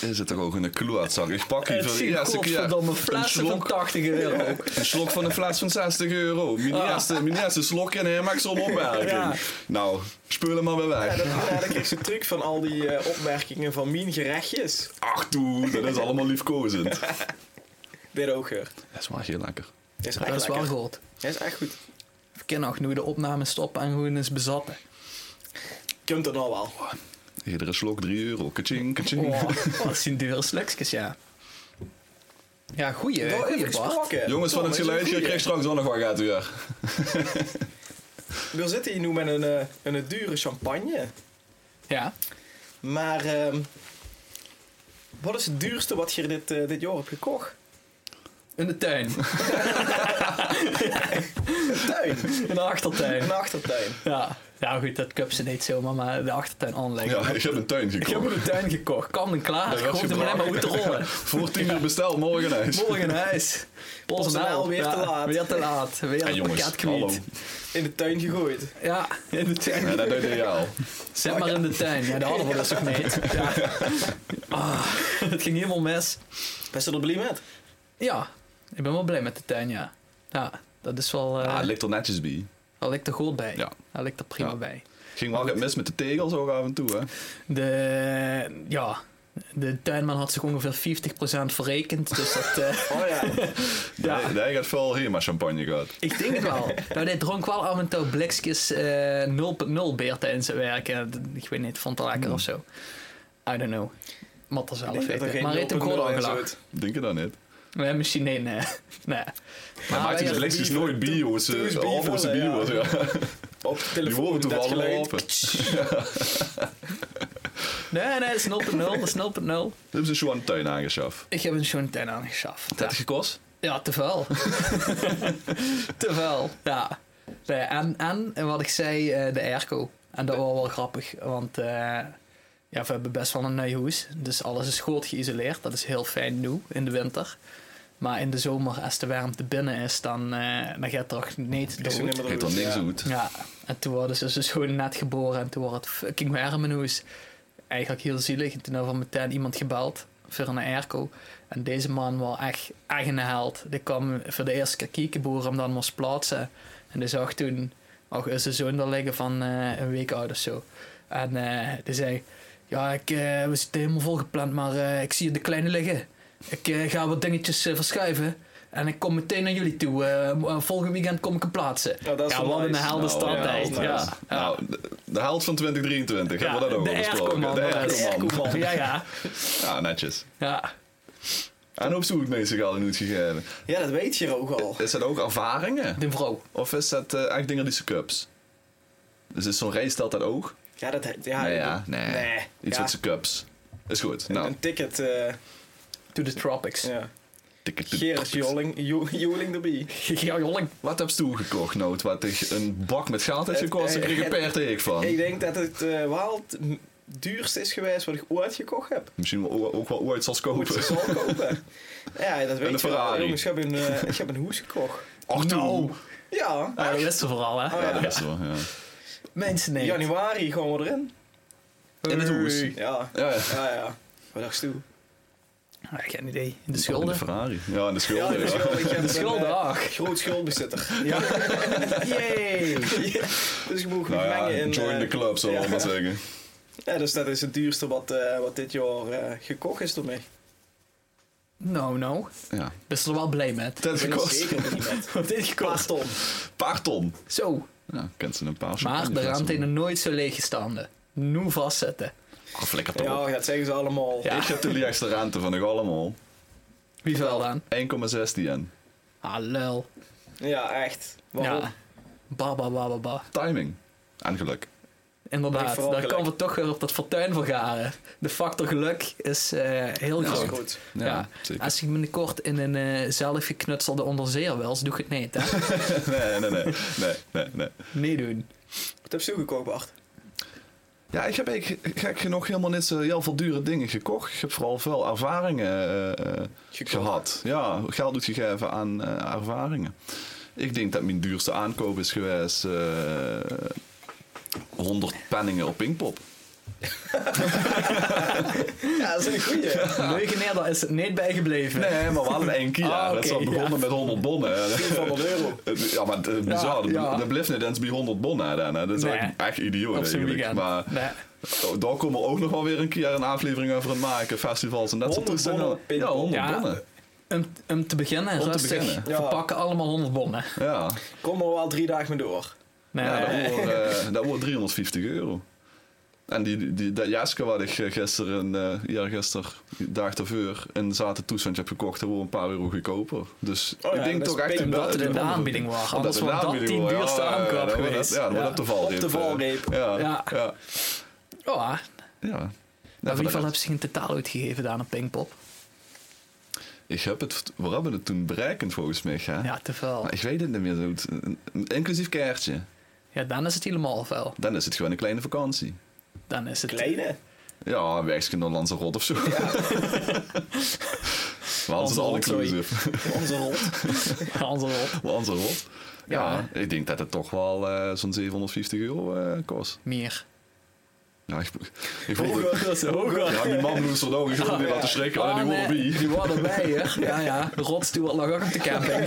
Is het toch ook in een kloetzak? Ik pak hier Het voor de zien eerste keer godverdomme een flessen van slok, 80 euro. een slok van een fles van 60 euro. Mijn Ah. eerste, mijn eerste slok en hij maakt zo'n opmerking. Ja. Nou, spul hem maar weer Ja, weg. dat ja, dat is de truc van al die eh, opmerkingen van mijn gerechtjes. Ach toe, dat is allemaal liefkozend. Dat Dit ook, hoor. is wel heel lekker. Is echt Dat is wel lekker. goed. Is echt goed. We kunnen ook nu de opname stoppen en gewoon eens bezatten. Komt er nou wel. Iedere slok 3 euro. Kaching, kaching. Oh, dat zijn dure slekjes, ja. Ja, goeie, Nou, goeie even Bart. gesproken. Jongens van Tom, het is een geluidje, goeie. krijg straks wel nog wat gaat weer. We zitten hier nu met een, eh, een, een dure champagne. Ja. Maar ehm, wat is het duurste wat je dit, eh, dit jaar hebt gekocht? In de tuin. Een tuin. In de achtertuin. Een achtertuin. Ja. Ja, goed, dat cup ze niet zomaar, maar de achtertuin aanleggen. Ja, ik heb een tuin Ik heb gekocht. in de tuin gekocht. Kan en klaar. Dat Ik werd hoefde me helemaal uit te rollen. Voor 10 uur besteld, morgen ijs. Morgen in huis. nou PostNL, weer te laat. nou Weer te laat. Weer Ja, een jongens, pakket kwijt. hallo. In de tuin gegooid. Ja, in de tuin. Ja, dat doet ideaal. Zet maar in de tuin. Ja, dat hadden we dus ook niet. Ja. Ah, het ging helemaal mis. Best wel er blij met. Ja, ik ben wel blij met de tuin, ja. Ja, dat is wel... eh Ah, het ligt er netjes bij. dat ligt er goed bij. Ja. Dat ligt er prima Ja. bij. Ging wel wat mis met de tegels ook af en toe, hè? De... Ja... De tuinman had zich ongeveer 50% verrekend, dus dat... eh, Oh ja. Ja. Nee, Hij gaat veel Hema champagne gehad. Ik denk het wel. Nou, dit dronk wel af en toe blikjes eh, 0.0 beer tijdens het werken. Ik weet niet, vond het lekker of zo. I don't know. Mat er zelf Hmm. Ik denk dat er weten. geen Maar reed hem 0.0 goed en zo aangelakt. uit. Denk je dat niet? Nee, misschien nee, nee. Ah, nee. Maar maakt die wij- blikjes bier- nooit bio's. toe- toe is eh, bier Alvoorse vullen, ja. bio's, ja. Op de Die telefoon. horen dat toevallig wel geluid. open. nee, nee, dat is 0.0. Dat is 0.0. Dit is een Schuan tuin aangeschaft. Ik heb een zo'n ten aangeschaft. Ja, Dat gekost? ja te veel. te veel, ja. Nee, en, en, en wat ik zei, eh, de airco. En dat was wel grappig, want... eh, Ja, we hebben best wel een nieuw huis. Dus alles is goed geïsoleerd. Dat is heel fijn nu in de winter. Maar in de zomer, als de warmte binnen is, dan, eh, dan gaat het toch niet Is er door. niet meer Geeft dan goed, niks ja. goed. Ja, en toen waren ze dus gewoon net geboren en toen was het fucking warm in huis. Eigenlijk heel zielig. En toen hebben we meteen iemand gebeld voor een airco. En deze man was echt, echt een held. Die kwam voor de eerste keer kiekenboeren om dan moest plaatsen. En die zag toen ook zijn zoon daar liggen van eh, een week oud of zo. En eh, die zei, ja, ik, eh, we zitten helemaal volgepland, maar eh, ik zie de kleine liggen. Ik eh, ga wat dingetjes eh, verschuiven. En ik kom meteen naar jullie toe. Eh, m- eh, volgend weekend kom ik hem plaatsen. Ja, dat is wel wat een nice. helder Nou, stad. ja, hè. dat is nice. Ja, ja. Nou, de, de held van 2023, hebben we Ja, dat de over gesproken? airco-man, de de airco-man. airco-man. Ja, ja. Ja, netjes. ja. En op zoek mee zich al in het gegeven. Ja, dat weet je ook al. Is dat ook ervaringen? De vrouw. Of is dat eh, echt dingen die ze cups? Dus is zo'n race stelt dat ook? Ja, dat... Ja, nee, ja, nee. Nee. Iets Ja. met ze cups. Is goed. Een- Nou, Een ticket. eh To the tropics. ja. ticket. Gerrit Joling, Jo- Joling erbij. Ja, jolling. Wat heb je toegekocht, Noot? Wat ik een bak met geld heeft Het- gekost, ik eh, kreeg een het- per teek Ik van. denk dat het eh, wel het m- duurste is geweest wat ik ooit gekocht heb. Misschien wel o- ook wel ooit zal Moet kopen. ze zal kopen. Ja, dat weet je een wel. Ferrari. Jongens, ik heb een, eh, ik heb een hoes gekocht. Ach, nou. Ja, Ja, dat is er vooral, hè. Oh, Ja, ja. dat is wel, ja. Mensen, nee. januari gaan we erin. In het hoes. Ja, Ja, ja. ja, ja. Wat dacht je? Ah, geen idee. In de In schulden. de Ferrari. Ja, in Ja, de schulden. ah. de Ja, schuld. Ik heb De schulden, een eh, ach. groot schuldbezitter. Ja, Yay. dus je moet goed Nou ja, mengen in... join eh, the club, zullen we ja. maar zeggen. Ja, dus dat is het duurste wat, eh, wat dit jaar eh, gekocht is door mij. Nou, nou. Ja. Best er wel blij met. Dat Ik ben er gekost. zeker nog niet met. Wat dit Paar gekost. ton. Paar ton. Zo. Ja, kent ze een paar Maar de champagneflessen ruimte doen. nog nooit zo leeggestaande. Nu vastzetten. Ah, flikker toch op. Ja, dat zeggen ze allemaal. Ja. Ik heb de lichtste ruimte van nog allemaal. Wie wel dan? 1,16 en. Ah, lul. Ja, echt. Waarom? Ja. Ba, ba, ba, ba, ba. Timing. En geluk. Inderdaad, Vooral daar geluk. komen we toch weer op dat fortuin vergaren. De factor geluk is eh, heel Dat is groot. goed. Ja, Ja. zeker. Als ik binnenkort in een eh zelf geknutselde onderzeer wil, doe ik het niet. Hè? Nee, nee, nee. nee, nee, nee. nee doen. Wat heb je toegekookt, Bart? Ja, ik heb eigenlijk gek genoeg helemaal niet zo heel veel dure dingen gekocht. Ik heb vooral veel ervaringen eh, eh, Gekocht. gehad. Ja, geld uitgegeven aan eh, ervaringen. Ik denk dat mijn duurste aankoop is geweest eh 100 penningen op Pinkpop. Ja, dat is een goeie. Leugeneer, daar is het niet bij gebleven. Nee, maar wel in één keer. Ah, dat is oké, al begonnen met 100 bonnen. 400 euro. Ja, maar het is bizar. Ja, dat- ja. Dat blijft niet eens bij 100 bonnen. dan, hè. Dat is Nee. echt- echt idioot op zijn eigenlijk. weekend. Maar Nee. Oh, daar komen we ook nog wel weer een keer een aflevering over aan het maken. Festivals en dat soort 100 bonnen toestanden. op Ja, Pinkpop. 100 Ja. bonnen. Om, om te beginnen, Om te rustig. beginnen. We Ja. pakken allemaal 100 bonnen. Ja, Kom er wel drie dagen mee door. Nee, ja dat, wordt, eh, dat wordt 350 euro. En die, die, dat jasje waar ik eh, gisteren, eh eergisteren, die dag daarvoor, een zatertoestandje heb gekocht, dat wordt een paar euro goedkoper. Dus Oh ja, ik denk dat is toch echt... pink, omdat het in de aanbieding was. Omdat Anders het in de was dat die aanbieding was. duurste Ja, ja, ja, aankoop dan wordt dat- geweest. Ja, dan wordt Ja. dat de valreep. Op de valreep. eh, Ja, Ja. ja. ja. Oh, ah. ja. maar voor de hoeveel rest- heb je in totaal uitgegeven daar aan Pinkpop? Ik heb het... We hebben het toen berekend volgens mij, hè? Ja, te veel. Maar Oh, ik weet het niet meer zo goed. Inclusief kaartje. Ja, dan is het helemaal veel. Dan is het gewoon een kleine vakantie. Dan is het... Kleine. Ja, een wegsje naar Lanzarote of zo. Ja. is all Lanzarote, inclusive. Onze rond. Hans erop. Lanzarote. Ja, ik denk dat het toch wel eh, zo'n 750 euro eh, kost. Meer. Ja, ik, ik vond het... Hoger. Hoger. Ja, die man moest er nog eens niet laten schrikken. Oh, die Ah, worden nee, wie. Die worden wij, hè? Ja, ja. De rotstuur lag ook op de camping.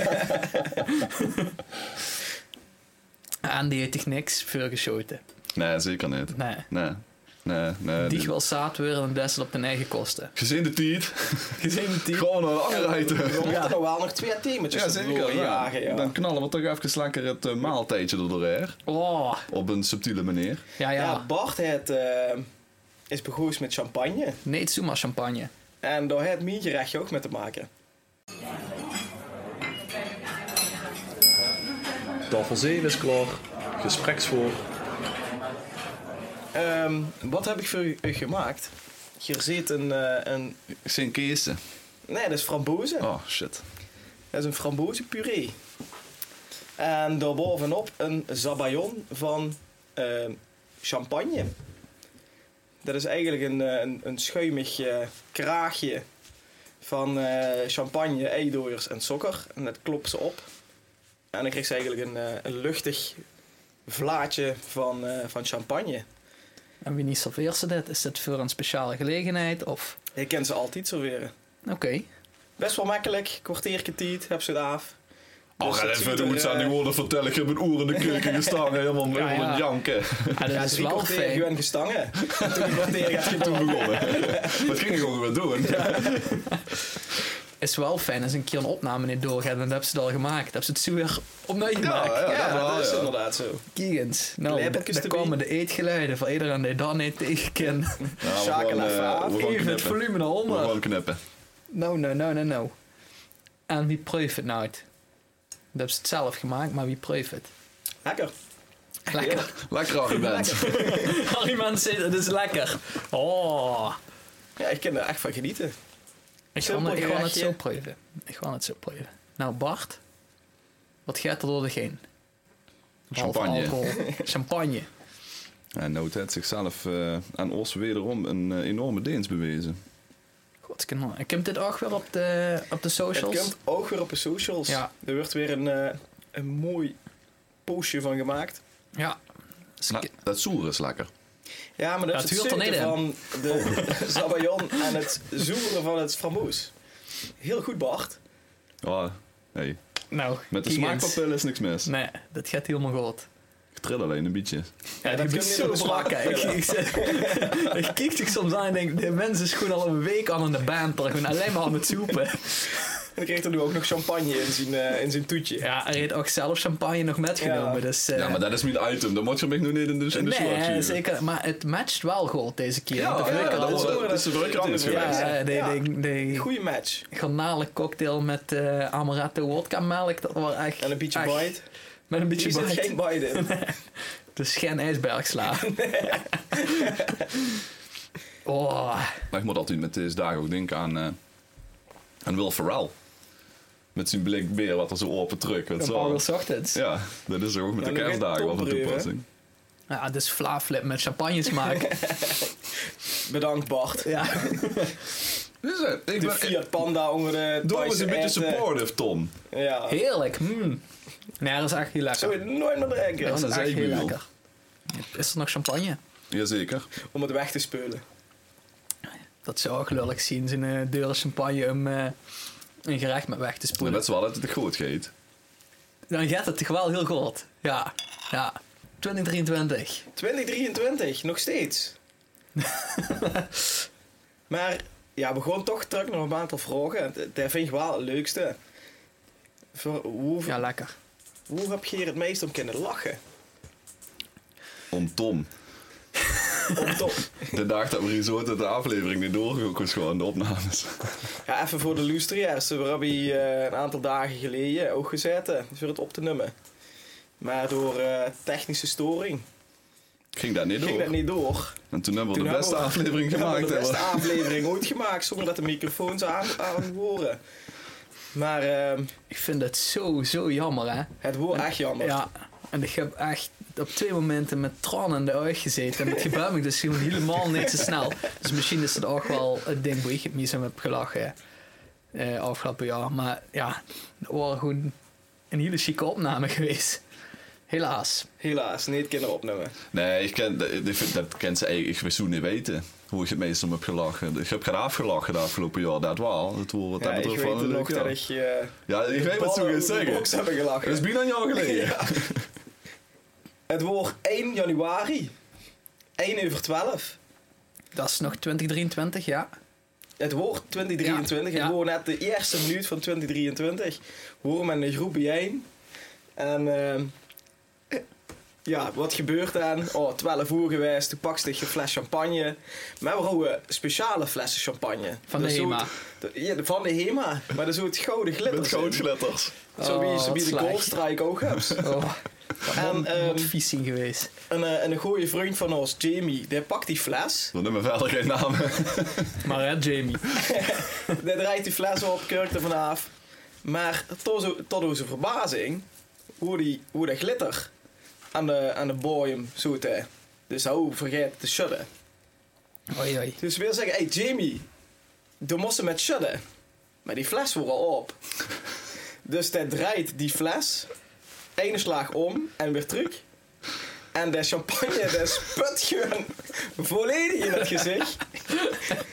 en die heeft toch niks veel geschoten. Nee, zeker niet. Nee. Nee, nee, nee. Die dus- dit- wel zaad weer en Dessel op hun eigen kosten. Gezien de tijd, Gezien het team. gewoon naar de We afrijden. moeten nog wel nog twee teametjes Ja, zeker. Ja. jagen, ja. Dan knallen we toch even lekker het eh, maaltijdje er doorheen. Oh, Op een subtiele manier. Ah, ja, ja. Ja, Bart het, eh, is begroeid met champagne. Nee, het is maar champagne. En daar heeft mijn gerechtje ook mee te maken. Tafel 7 is klaar. Gespreksvoor. Ehm, wat heb ik voor u u gemaakt? Hier zit een, eh, een... Sint Keesten. Nee, dat is frambozen. Oh, shit. Dat is een frambozenpuree. En daarbovenop een sabayon van ehm, champagne. Dat is eigenlijk een, eh, een, een schuimig eh, kraagje van eh, champagne, eidooiers en sokker. En dat klopt ze op. En dan kreeg ze eigenlijk een, eh, een luchtig vlaatje van, eh, van champagne. En wie niet serveert ze dit? Is dit voor een speciale gelegenheid? Of... Je kent ze altijd serveren. Oké. Best wel makkelijk, kwartiertje tijd, heb ze het af. Oh, Dus ga dat even ziet verder er, moet ze aan die eh, woorden vertellen. Ik heb een oer in de keuken gestaan. Helemaal Ja, helemaal ja. aan het janken. Ja, dat Ja, is drie wel kwartier fijn. Gwen gestangen. En Toen ik kwartier heb je Toen begonnen. Wat ging ik gewoon weer doen? is wel fijn als een keer een opname niet doorgaat. En dat hebben ze het al gemaakt. Dat hebben ze het zo weer opnieuw Ja, gemaakt. ja, Ja, dat wel, dat is ja. inderdaad zo. Kiegends. Nou, Kleppeltjes daar erbij. komen de eetgeluiden van iedereen die dan niet tegenkent. Ja, we Sjaak en gaan, eh, Afraaf. we gaan Even het knippen. volume naar We 100. gaan knippen. Nou, nou, nou, nou, nou. En wie proeft het nou? uit? Dat hebben ze het zelf gemaakt, maar wie proeft het? Lekker. Lekker. Lekker argument. Al die mensen zeggen, het is lekker. Oh. Ja, ik kan er echt van genieten. Ik Simpel ga, het- ik ga het gerechtje. zo proeven. Ik ga het zo proeven. Nou, Bart. Wat gaat er door de heen? Behalve Champagne. alcohol. Champagne. En Noot heeft zichzelf eh, aan ons wederom een eh, enorme dienst bewezen. Godskanaal. Ik heb dit ook weer op de, op de Het socials. komt ook weer op de socials. Ja. Er wordt weer een, eh, een mooi postje van gemaakt. Ja. Dus Nou, ik- dat zoer is lekker. Ja, maar Ja, dat het is het huurt Oh. er zoete van niet de sabayon en het zoeren van het framboos. Heel goed, Bart. Oh, hey. nou, Met de Kiegans. smaakpapillen is niks mis. Nee, dat gaat helemaal goed. Ik tril alleen een beetje. Ja, dat die moet kun je zo niet op brak de kijken. Ik, ik, zit- ik kijk zich soms aan en denk, de mensen is gewoon al een week aan in de baan. terug. Ik ben alleen maar aan het soepen. En dan kreeg er nu ook nog champagne in zijn, eh, in zijn toetje. Ja, hij heeft ook zelf champagne nog metgenomen. Ja. Dus, eh, ja, maar dat is niet het item. Dat moet je hem echt nog niet in de, in de slot nee, zien. zeker. Maar het matcht wel goed deze keer. Ja, Want de ja, Flikker dat had- is wel- dat is wel leuk anders geweest. ja, Ja, die, die, die Goeie match. garnalen cocktail met eh amaretto wodka melk. Dat was echt... En een beetje echt- bite. Met een beetje Hier zit bite. geen bite in. Dus geen ijsbergsla. oh, Maar ik moet altijd met deze dagen ook denken aan, eh, aan Will Ferrell. Met zijn blik beer wat er zo open truck. Weet een je wel. paar uur ochtends. Ja. Ja, dat is ook met de Ja, dan ga je kerstdagen wel van tombreuren, hè? toepassing. dus flaaflip met champagne smaak. Bedankt Bart. ja. Dus, eh, ik De ben, Fiat Panda onder de Dom is Thaise een beetje eten. supportive, Tom. Ja. Heerlijk. Mm. Nee, dat is echt heel lekker. Zou je het nooit meer drinken? Ja. dat is dat zei echt ik heel nu al. lekker. Is er nog champagne? Jazeker. Om het weg te speulen. Dat zou ik lullig zien, zijn eh deuren champagne om eh, een gerecht met weg te Maar spoelen. dat is wel dat het goed geet. Dan gaat het toch wel heel goed. Ja, ja. 2023. 2023, nog steeds. maar ja, we gaan toch terug nog een aantal vragen. D- Dat vind ik wel het leukste. Voor, hoe, Ja, lekker. hoe heb je hier het meest om kunnen lachen? Om Tom. Om Tom. De dag dat we resort uit de aflevering niet doorgekomen is gewoon de opnames. Ja, even voor de luisteraars. We hebben hier eh, een aantal dagen geleden ook gezeten voor het op te nummen. Maar door eh, technische storing Ging dat niet door. ging dat niet door. En toen hebben we Toen de beste hebben we- aflevering We hebben gemaakt. de beste hè, maar- aflevering ooit gemaakt zonder dat de microfoons aan, aan horen. Maar ehm, Ik vind dat zo, zo jammer, hè. het wordt echt jammer. Ja, en ik heb echt op twee momenten met tranen in de ogen gezeten. En het gebeurt me dus gewoon helemaal niet zo snel. Dus misschien is het ook wel het ding waar ik het mis om heb gelachen eh, afgelopen jaar. Maar ja, het was gewoon een hele chique opname geweest. Helaas. Helaas, niet kunnen opnemen. Nee, ik ken, dat, ik vind- dat kent ze eigenlijk ik wist toen niet weten. Hoe ik het meest om heb gelachen. Ik heb geen afgelachen de afgelopen jaar, dat wel. Dat wordt wat Ja, dat ik betreft weet wel een het nog leuk dat jaar. ik... eh, Ja, ik weet wat ze ballen gaan over de zeggen. box hebben gelachen. Dat is bijna een jaar geleden. Ja. Het wordt 1 januari. 1 over 12. Dat is nog 2023, ja. Het woord 2023, Ja, en ja. gewoon net de eerste minuut van 2023, horen met een groep bijeen. En ehm, ja, wat gebeurt dan? Oh, 12 uur geweest, toen pakte ik een fles champagne. Maar we houden speciale flessen champagne. Van de Dus zo HEMA. het- de- ja, de- van de HEMA. Maar er zo het gouden glitter. Met goudgletters. Zo wie, Oh, zo wie wat de slecht. Goldstrike ook hebt. Oh, En, en, ehm, wat vies zien geweest. En, eh, en een goede vriend van ons, Jamie, die pakt die fles. We noemen verder geen namen. Maar hè, Jamie. Die draait die fles op, kurkt er vanaf. Maar tot, zo- tot onze verbazing, hoe, die, hoe dat glitter aan de, aan de bojem zoet. hè. Dus hou vergeet te shudden. Oei, oei. Dus wil zeggen, hey Jamie, dan moesten met shudden. Maar die fles wordt al op. Dus hij draait die fles, ene slag om en weer terug. En de champagne, de sput gewoon volledig in het gezicht.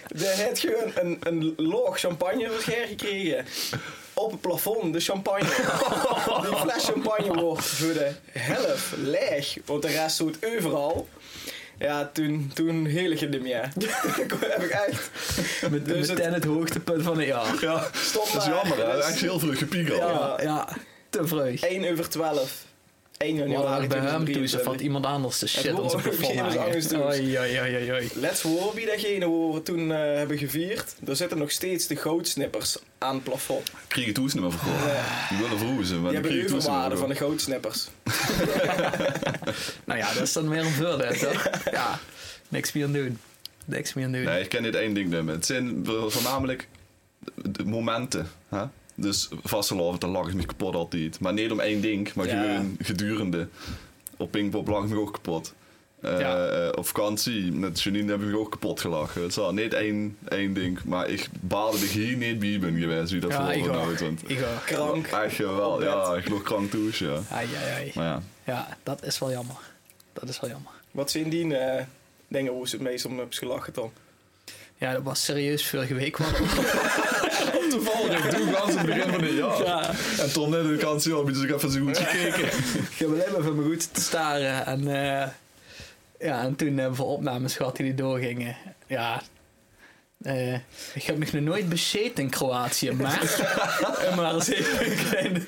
De heeft gewoon een, een loog champagne verscher gekregen. Op het plafond, de champagne. Die fles champagne wordt voor de helft leeg. Want de rest doet overal. Ja, toen, toen heel ik het niet meer. Toen heb ik echt... Met, Dus meteen het... het- hoogtepunt van het jaar. Ja, Stop dat is maar. jammer. hè. Dat Dus- is echt heel vroeg gepiekeld. Ja. Ja, ja. Te vroeg. 1 over 12. 1 Ja, januari maar bij hem toe, ze valt 2023. iemand anders de shit hoort onze ook plafond geen hangen. angst toe. Oei, oei, oei, oei. Let's horen wie datgene hoe we toen eh, hebben gevierd. Er zitten nog steeds de gootsnippers aan het plafond. Kreeg het toesnummer verkocht. Die willen vroegen ze, maar Die Ah, hebben die kreeg de het overwaarde toesnummer van de van gootsnippers. Nou ja, dat is dan weer een voordeel, toch? Ja, niks meer aan doen. Niks meer aan doen. Nee, ik ken dit één ding nummer. Het zijn voornamelijk de momenten. Hè? Dus vastelovend, dan lag ik me kapot altijd. Maar niet om één ding, maar Ja. gewoon gedurende. Op Pinkpop lag ik me ook kapot. Eh, Ja. eh, op vakantie met Janine heb ik me ook kapot gelachen. Het zal niet één, één ding, maar ik baalde dat ik hier niet bij ben geweest. Wie dat ja, voor ik nooit. ook. Want Ik ook. Krank. Echt wel, Op bed. ja, ik lag krank toe, ja. Ai, ai, ai. Maar ja, Ja, dat is wel jammer. Dat is wel jammer. Wat zijn die eh, dingen hoe ze het meest om hebben gelachen dan? Ja, dat was serieus vorige week. Want Op de valreep. Toen gaan ze het begin van het jaar. Ja. En Tom net in de kans op, dus ik even zo goed gekeken. Ik heb alleen maar van me goed te staren. En, eh, ja, en toen hebben we opnames gehad die niet doorgingen. Ja. eh, ik heb nog nooit bezeten in Kroatië, maar. maar eens even klein.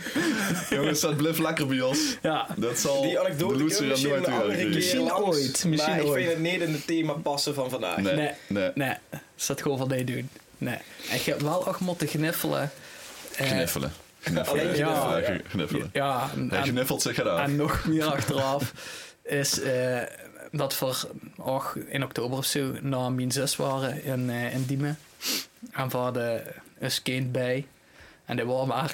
Jongens, dat blijft lekker bij ons. Ja. Dat zal Die anekdote de loser kunnen Oh, er we misschien een andere nooit weer dus. keer krijgen. Misschien langs, ooit, misschien maar ik ooit. vind het niet in het thema passen van vandaag. Nee, nee. Nee. Nee, dus dat gewoon van nee doen. Nee. En je hebt wel ook moeten gniffelen. Eh, Kniffelen. Alleen Kniffelen. kniffelen, Ja, ja. kniffelen. Ja, en- Hij kniffelt zich eraf. En nog meer achteraf is eh, dat we och, in oktober of zo naar mijn zus waren in, eh, in Diemen. En we hadden een kind bij. En die was maar,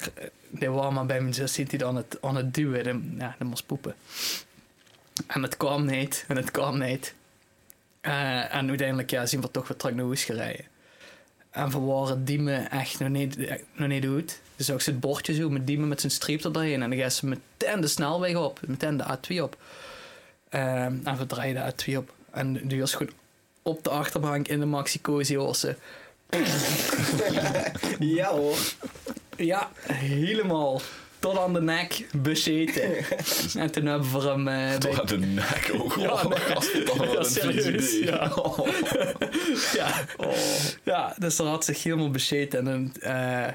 die was maar bij mijn zus zit hij dan het, aan het duwen. Die, ja, die moest poepen. En het kwam niet. En het kwam niet. Eh, en uiteindelijk ja, zien we toch weer terug naar huis gereden. En we waren Diemen echt nog niet, eh, nog niet goed. Dus ook het bordje zo met Diemen met zijn streep erheen. En dan gaan ze meteen de snelweg op. Meteen de A2 op. Ehm, en we draaien de A2 op. En die was gewoon op de achterbank in de maxi cozy horse. Ja hoor. Ja, helemaal. Tot aan de nek bezeten. en toen hebben we hem... eh, bij- Toch uit de nek ook. Ja, Oh, nee. dat Ja, was een serieus, idee. ja. Oh. ja. ja, dus dat had zich helemaal bezeten. En dan, eh,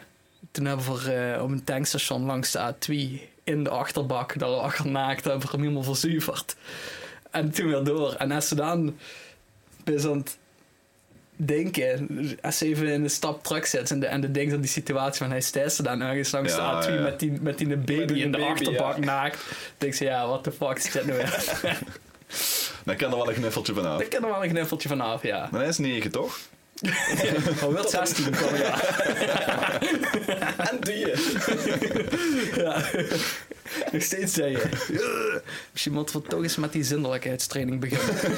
toen hebben we eh, op een tankstation langs de A2 in de achterbak, daar lag er naakt, hebben we hem helemaal verzuiverd. En toen weer door. En als ze dan best aan het denken, als ze even in een stap terug zit en, de, en de denkt aan die situatie van hij stijgt ze dan ergens langs Ja, de A2 ja. met die, met die baby Met die in de baby, achterbak ja. naakt, denkt ze ja, what the fuck is dit nou weer? Dan kan er wel een kniffeltje vanaf. Daar Maar kan er wel een knuffeltje vanaf, ja. hij is 9, toch? Oh, wel 16 kwam ja. En die. Ja. Nog steeds zei je. Misschien moeten we toch eens met die zinnelijkheidstraining beginnen.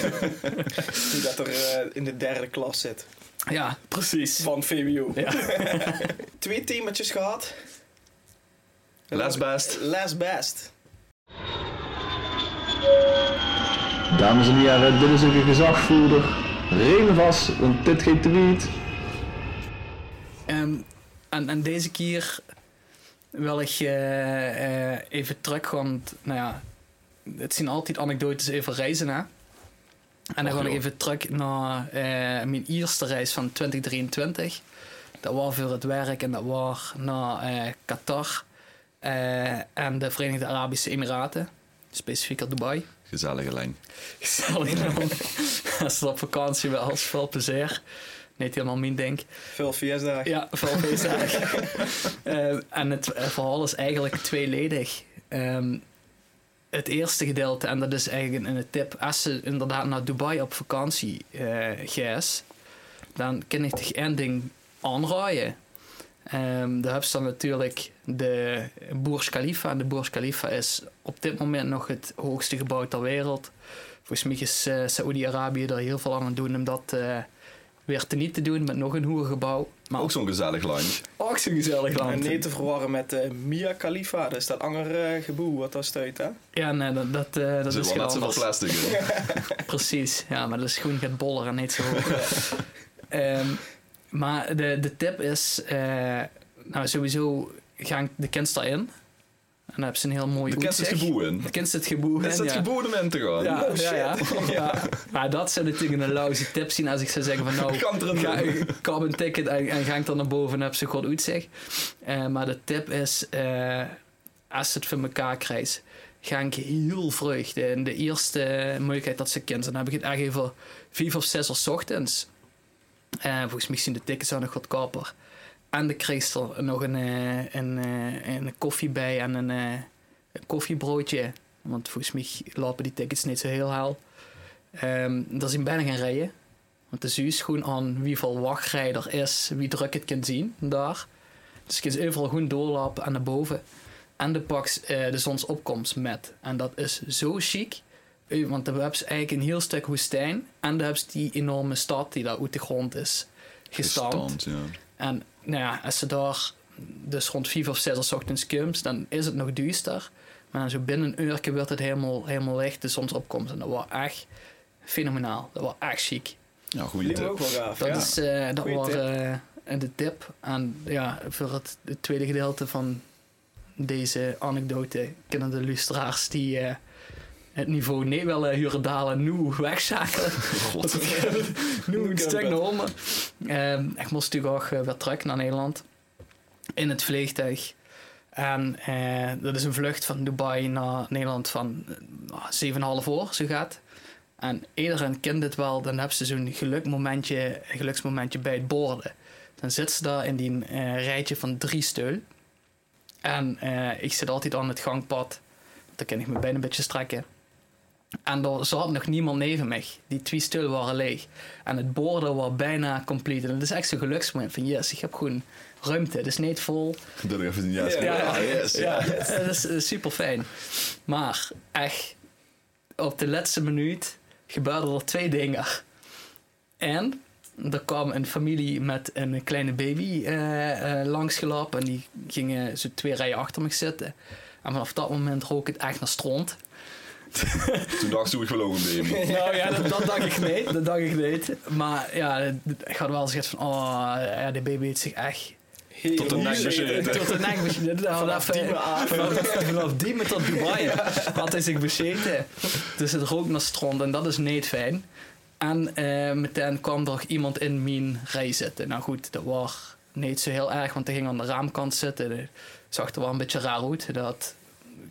Die dat er eh, in de derde klas zit. Ja, precies. Van VWO. Ja. Twee teametjes gehad. Last best. Last best. Dames en heren, dit is een gezagvoerder. Regen vast, want dit geen tweet. En, Ehm, en, en deze keer wil ik eh, eh, even terug, want nou ja, het zijn altijd anekdotes over reizen, hè. En dan Och, ga ik joh. even terug naar eh, mijn eerste reis van 2023. Dat was voor het werk en dat was naar eh, Qatar eh, en de Verenigde Arabische Emiraten, specifieker Dubai. Gezellige lijn. Gezellig man. Als het op vakantie wel is, veel plezier. Niet helemaal mijn denk. Veel feestdagen. Ja, veel feestdagen. Eh, en het eh, verhaal is eigenlijk tweeledig. Ehm, het eerste gedeelte, en dat is eigenlijk een, een tip. Als ze inderdaad naar Dubai op vakantie eh gaat, dan kan ik toch één ding aanraaien. Ehm daar heb je dan natuurlijk de Burj Khalifa. En de Burj Khalifa is op dit moment nog het hoogste gebouw ter wereld. Volgens mij is eh, Saoedi-Arabië er heel veel aan aan het doen om dat eh, weer teniet te doen met nog een hoger gebouw. Maar Ook zo'n gezellig lijntje. ook zo'n gezellig En land. niet te verwarren met eh, Mia Khalifa. Dat is dat andere geboe wat dat stuit, hè? Ja, nee, dat, dat, eh, Er dat zit is wel net gewoon zoveel anders. plastic in. Precies, ja, maar dat is groen gaat boller en niet zo hoog. Ehm, maar de, de tip is, eh, nou sowieso gaan de kinderen daarin. En dan hebben ze een heel mooi De kent het uitzicht. geboe in. De kind zit geboeien. Is dat ja. geboe om in te gaan? Ja, Oh, ja, ja. Ja. Maar dat zou natuurlijk een lauze tip zien als ik zou zeggen van nou, Kan er een ga, doen. koop een ticket en, en ga ik dan naar boven en heb ze goed uitzicht. Eh, maar de tip is, eh, als ze het voor elkaar krijgt, ga ik heel vroeg. De, de eerste mogelijkheid dat ze kind zijn, dan heb ik het echt even vijf of zes uur 's ochtends. Eh, volgens mij zijn de tickets dan nog goedkoper. En de kreeg ze er nog een, eh, een, eh, een koffie bij en een, eh, een koffiebroodje. Want volgens mij lopen die tickets niet zo heel haal. Ehm er zijn bijna geen rijen. Want de zuur is gewoon aan wie veel wachtrijder is, wie druk het kan zien daar. Dus je kunt overal goed doorlopen en naar boven. En de paks eh, de zonsopkomst met. En dat is zo chic. Eh, Want dan heb je eigenlijk een heel stuk woestijn. En dan heb je die enorme stad die daar uit de grond is gestampt. Gestand, ja. En nou ja, als ze daar dus rond 5 of 6 uur 's ochtends komt, dan is het nog duister. Maar zo binnen een uurtje werd het helemaal, helemaal licht, de zonsopkomst. En dat was echt fenomenaal. Dat was echt chic. Ja, goede Die me ook tip. wel gaaf. Dat, ja. is, eh, dat Goeie was tip. eh, En de tip aan, ja, voor het, het tweede gedeelte van deze anekdote kennen de lustraars die eh, het niveau nee willen huren dalen, nu wegzaken. God. nu Nu een stuk kan naar onder. Ehm, ik moest natuurlijk ook eh, weer terug naar Nederland in het vliegtuig. En eh, dat is een vlucht van Dubai naar Nederland van eh, 7,5 uur, zo gaat. En iedereen kent dit wel, dan hebben ze zo'n gelukmomentje, geluksmomentje bij het borden. Dan zit ze daar in die eh, rijtje van drie steul. En eh, ik zit altijd aan het gangpad. Dan kan ik me bijna een beetje strekken. En er zat nog niemand neven mij. Die twee stil waren leeg. En het borden was bijna compleet. En het is echt zo'n geluksmoment van yes, ik heb gewoon ruimte. Het is niet vol. Dat ik even niet juist. Ja, Ja, yes. Ja, dat is super fijn. Maar echt, op de laatste minuut gebeurden er twee dingen. En er kwam een familie met een kleine baby eh eh, langsgelopen. En die gingen zo twee rijen achter me zitten. En vanaf dat moment rook het echt naar stront. Toen dacht ik, ik wil ook een demo. Nou ja, dat, dat dacht ik niet. Dat dacht ik niet. Maar ja, ik had wel zoiets van, oh, ja, de baby heeft zich echt Heel Tot de nek bezeten. tot de nek bezeten. Vanaf die me af. eh, Vanaf die met tot Dubai had hij zich bezeten. Dus het rook naar stront en dat is niet fijn. En eh, meteen kwam er iemand in mijn rij zitten. Nou goed, dat was niet zo heel erg, want hij ging aan de raamkant zitten. Dat zag er wel een beetje raar uit. Dat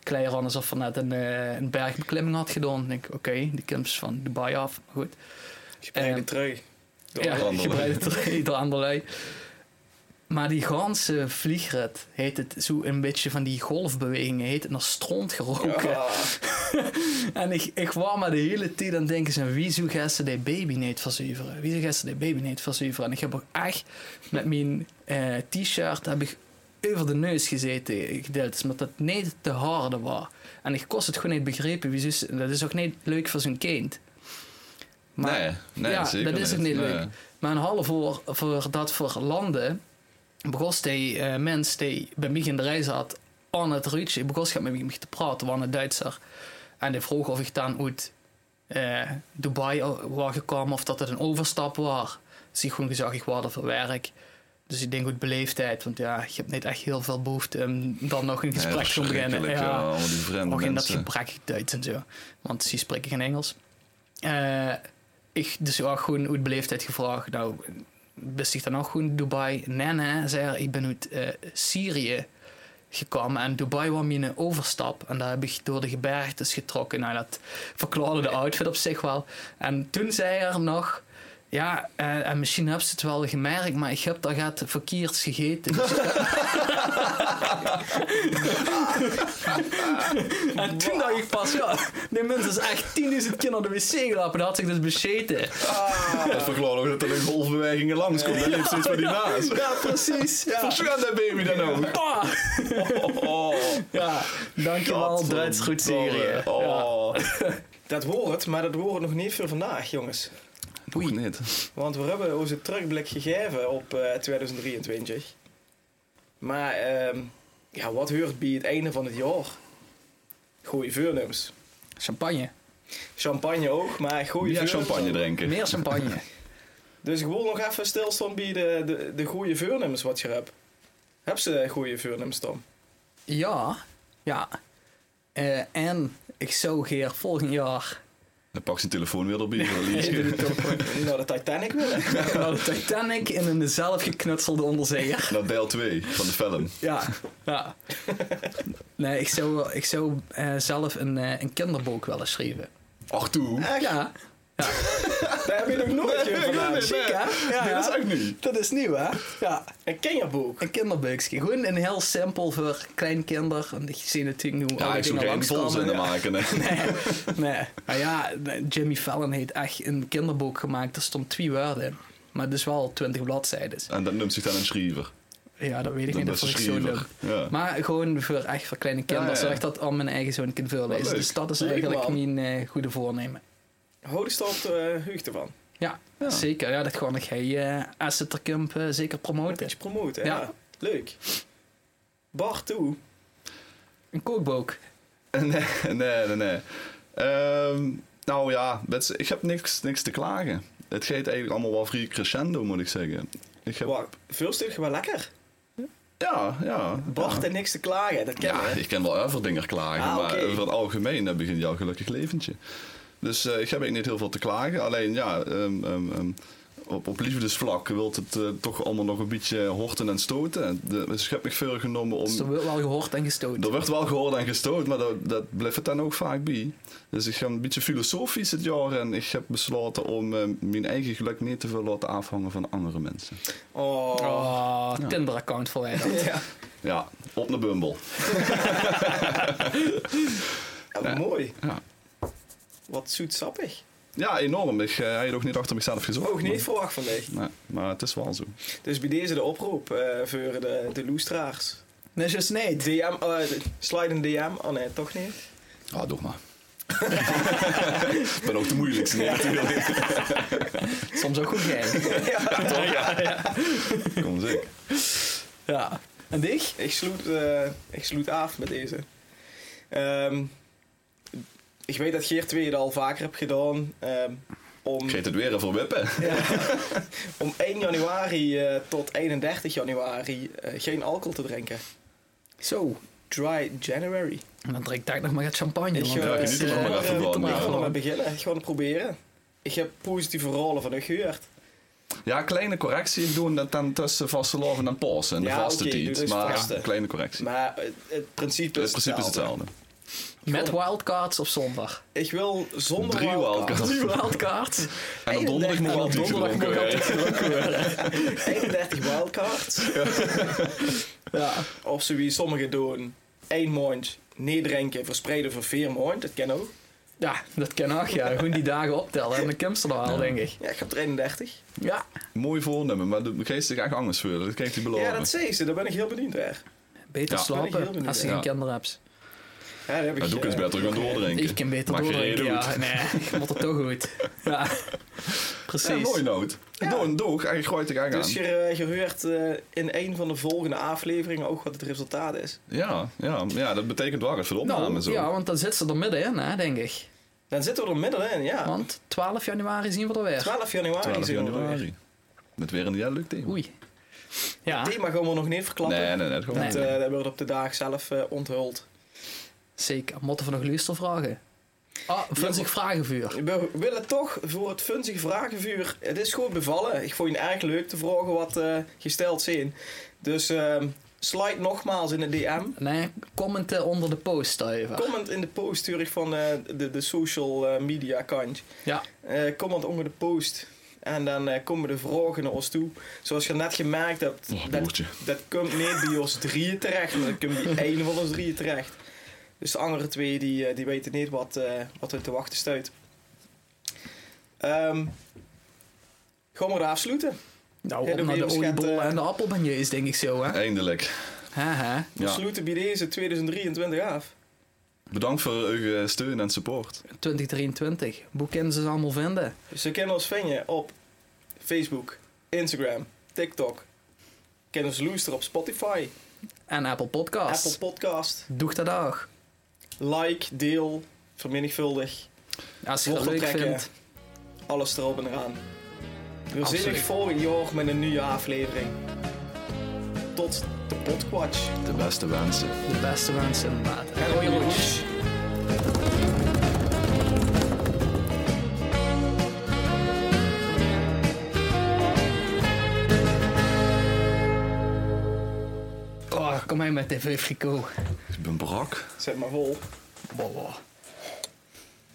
Kleiran alsof hij net een, eh, een bergbeklimming had gedaan. Ik denk, oké, die komt dus van Dubai af. Maar goed. Gebreide Ehm, trui. Door Ja, Anderlei. gebreide trui door Anderlei. Maar die ganse vliegret heet het zo een beetje van die golfbewegingen, heet het naar stront geroken. Ja. eh, En ik, ik wou maar de hele tijd aan denken, zijn, wie zou gasten die baby niet verzuiveren? Wie zou gasten die baby niet verzuiveren? En ik heb ook echt met mijn eh, t-shirt heb ik over de neus gezeten gedeeld, Dus omdat dat niet te harde was. En ik kost het gewoon niet begrepen, wie zou- dat is ook niet leuk voor zo'n kind. nee, nee, ja, zeker dat is ook niet Nee. leuk. Maar een half uur voor dat voor landen begon die eh, mens die bij mij in de rij zat aan het ruutje, begon ze met mij te praten, was een Duitser. En die vroeg of ik dan uit eh, Dubai was gekomen of dat het een overstap was. Dus ik gewoon gezegd, ik was er voor werk. Dus ik denk goed beleefdheid, want ja, je hebt niet echt heel veel behoefte om dan nog een Nee, gesprek te beginnen. verschrikkelijk, Ja, allemaal die vreemde Ook in dat mensen. gebrekkig Duits en zo. Want ze spreken geen Engels. Eh, ik dus ook gewoon uit beleefdheid gevraagd. Nou, wist ik dan ook gewoon Dubai? Nee, nee, zei hij. Ik ben uit eh, Syrië gekomen. En Dubai was mijn overstap. En daar heb ik door de gebergtes getrokken. Nou, dat verklaarde de outfit op zich wel. En toen zei er nog... Ja, eh, en misschien heb ze het wel gemerkt, maar ik heb daar gaat verkeerd gegeten. Dus En toen dacht ik pas, ja, die mens is echt 10.000 keer naar de wc gelopen. Dat had zich dus bezeten. Dat verklaart ook dat er een golfbewegingen langskomt. Dat ligt steeds maar die naast. Ja, precies. Ja. Verschuim dat baby dan ook. Oh, Ah. Ja, eh, dankjewel, Duits goed Syrië. Godverdomme. Oh. Dat woord, maar dat woord nog niet voor vandaag, jongens. Nog niet. Want we hebben onze terugblik gegeven op eh, 2023. Maar ehm, ja, wat hoort bij het einde van het jaar? Goeie vuurnummers. Champagne. Champagne ook, maar goeie Ja, vuurnummers. champagne drinken. Meer champagne. Dus ik wil nog even stilstaan bij de, de, de goede vuurnummers wat je hebt. Heb ze goede vuurnummers, Tom? Ja, ja. Eh, en ik zou hier volgend jaar Dan pak zijn telefoon weer erbij voor een Doe liedje. het toch gewoon niet naar de Titanic willen? naar de Titanic in een zelfgeknutselde onderzeeër. Naar deel 2 van de film. Ja, ja. Nee, ik zou, ik zou eh, zelf een, eh, een kinderboek willen schrijven. Ach toe. Nee, Ja, Daar heb je nog nooit nee, nee, nee. gedaan. chic hè? Ja, dat is ja. echt niet. Dat is nieuw hè? Ja. Een kinderboek. Een kinderbuksje. Gewoon een heel simpel voor kleinkinderen. Want je ziet natuurlijk nu Ja, alle ik zou dingen geen langskomen. volzinnen maken. Nee. Nee. Nou ja, Jimmy Fallon heeft echt een kinderboek gemaakt. Er stond twee woorden in. Maar het is wel twintig bladzijden. Dus En dat noemt zich dan een schriever. Ja, dat weet ik Dan niet best of ik zo schrijver. noem. Ja. Maar gewoon voor, echt voor kleine kinderen. Ja, ja. Zodat ik dat aan mijn eigen zoon kan Wat voorlezen. leuk. Dus dat is Leuk, eigenlijk man. mijn eh, goede voornemen. Houd eens op de heugte van. Ja, zeker. Ja, dat gewoon ik hij eh, Asset Camp eh, zeker promoten. Je promoot, hè? Ja. Leuk. Bart toe. Een kookboek. Nee, nee, nee. nee. Ehm, nou ja, dat is- ik heb niks, niks te klagen. Het gaat eigenlijk allemaal wel vrij crescendo, moet ik zeggen. Ik heb, Wacht, veel stuk wel lekker. ja, ja. Bart en niks te klagen, dat kennen Ja, we. ik ken wel Everdinger klagen, Ah, maar oké. over het algemeen eh, begint jouw gelukkig leventje. Dus eh, ik heb eigenlijk niet heel veel te klagen. Alleen ja, ehm, ehm, ehm, op, op liefdesvlak wilt het eh, toch allemaal nog een beetje horten en stoten. De, dus ik heb me veel genomen om... Dus er wordt wel gehoord en gestoten. Er werd wel gehoord en gestoot, maar dat, dat blijft het dan ook vaak bij. Dus ik ga een beetje filosofisch het jaar en ik heb besloten om eh, mijn eigen geluk niet te veel laten afhangen van andere mensen. Oh. Oh, Tinder-account voor mij dan. Ja. Ja, op naar Bumble. Ja, Mooi. Ja. Wat zoetsappig. Ja, enorm. Ik eh, had het ook niet achter mezelf gezocht. Ook niet verwacht van mij. maar- Nee, maar het is wel zo. Dus bij deze de oproep eh, voor de, de loestraars. Nee, just nee. DM, eh, slide een DM. Oh nee, toch niet. Ah, doe maar. Ik ben ook de moeilijkste. Nee, natuurlijk. Soms ook goed geheim. Kom zeker. Ja. En dich? Ik sloot, eh, ik sloot af met deze. Ehm, ik weet dat Geert 2 het al vaker heb gedaan. ehm, om, Ik geet het weer even wippen. om 1 januari eh, tot 31 januari eh, geen alcohol te drinken. Zo. Dry January. En dan drink ik daar nog maar het champagne. Ik want ga dat ik is, niet te eh, lang maar even niet te van, lang ja. Ik van. ga ermee beginnen. Ik ga het proberen. Ik heb positieve rollen van u gehoord. Ja, kleine correctie. Ik doe dat dan tussen vaste loven en pauze. En de Ja, vaste oké, doe tijd. dus Maar vaste. een kleine correctie. Maar eh, het principe is het principe is hetzelfde. Met wildcards op zondag. Ik wil zonder Drie wildcards. wildcards. Drie wildcards. En op donderdag moet En wel op die donderdag moet gedronken wel worden. die gedronken eh, worden. 31 wildcards. Ja. Of zo wie sommigen doen. één maand niet drinken, verspreiden voor vier maand. Dat kan ook. ja, dat kan ook. Ja. Gewoon die dagen optellen. En dan komt ze er wel, denk ik. Ja, ik heb er 31. Ja. Mooi voornemen, maar de geest is echt angst voor. Dat krijgt hij beloven. Ja, dat zei ze. Daar ben ik heel benieuwd naar. Beter Ja. Ben ik heel slapen benieuwd, als je ja. geen kinderen hebt. Ja, daar heb ik, Ja, doe ik eens eh, beter gaan doordrinken. Ik kan beter Maak je doordrinken, reden ja. uit. Nee, ik moet het toch goed. Ja. Ja, Precies. mooi nood. Ja. Doe een doeg en je gooit er gang aan. Dus je, eh, je hoort eh, in een van de volgende afleveringen ook wat het resultaat is. Ja, ja, ja, dat betekent wel het voor de opname nou, zo. ja, want dan zit ze er middenin, hè, denk ik. Dan zitten we er middenin, ja. Want 12 januari zien we er weer. 12 januari. 12 zien we er weer. januari. Met weer een jaarlijk thema. Oei. Ja, Thema gaan we nog niet verklappen. Nee, nee, nee. Dat, gaan we Nee. niet Want, doen. eh, dat wordt op de dag zelf eh, onthuld. zeker. Motten van nog luister vragen. Ah, vind ik vragenvuur. We willen toch voor het funzige vragenvuur. Het is goed bevallen. Ik vond je erg leuk te vragen wat eh, gesteld zijn. Dus ehm slide nogmaals in de DM. Nee, commenten onder de post even. Comment in de post stuur ik van eh, de, de social eh, media kant. Ja, Eh, comment onder de post. En dan eh, komen de vragen naar ons toe. Zoals je net gemerkt hebt, Oh, dat, boertje. dat komt niet bij ons drieën terecht, maar dat komt bij één van ons drieën terecht. Dus de andere twee die, eh, die weten niet wat, eh wat hun te wachten stuit. Ehm gaan we er afsluiten? nou Ja, op dan naar ben de je waarschijnlijk, oliebollen eh, en de appelbeignets is denk ik zo, hè. Eindelijk. Haha. We Ja. sluiten bij deze 2023 af. Bedankt voor uw eh, steun en support. 2023. Hoe kunnen ze ze allemaal vinden? Ze kennen Dus ons vinden op Facebook, Instagram, TikTok. Kennen ons loester op Spotify, En Apple Podcasts. Apple Podcast. Doeg dat ook. Like, deel, vermenigvuldig. Als je het Wortel leuk trekken. vindt. Alles erop en eraan. We zien Absoluut. jullie volgend jaar met een nieuwe aflevering. Tot de potquatch. De beste wensen. De beste wensen, maat. En Goeie goeie lunch. lunch. Oh, kom mee met de VFGO. Ik ben brak. Oh, Zet maar vol. Wow.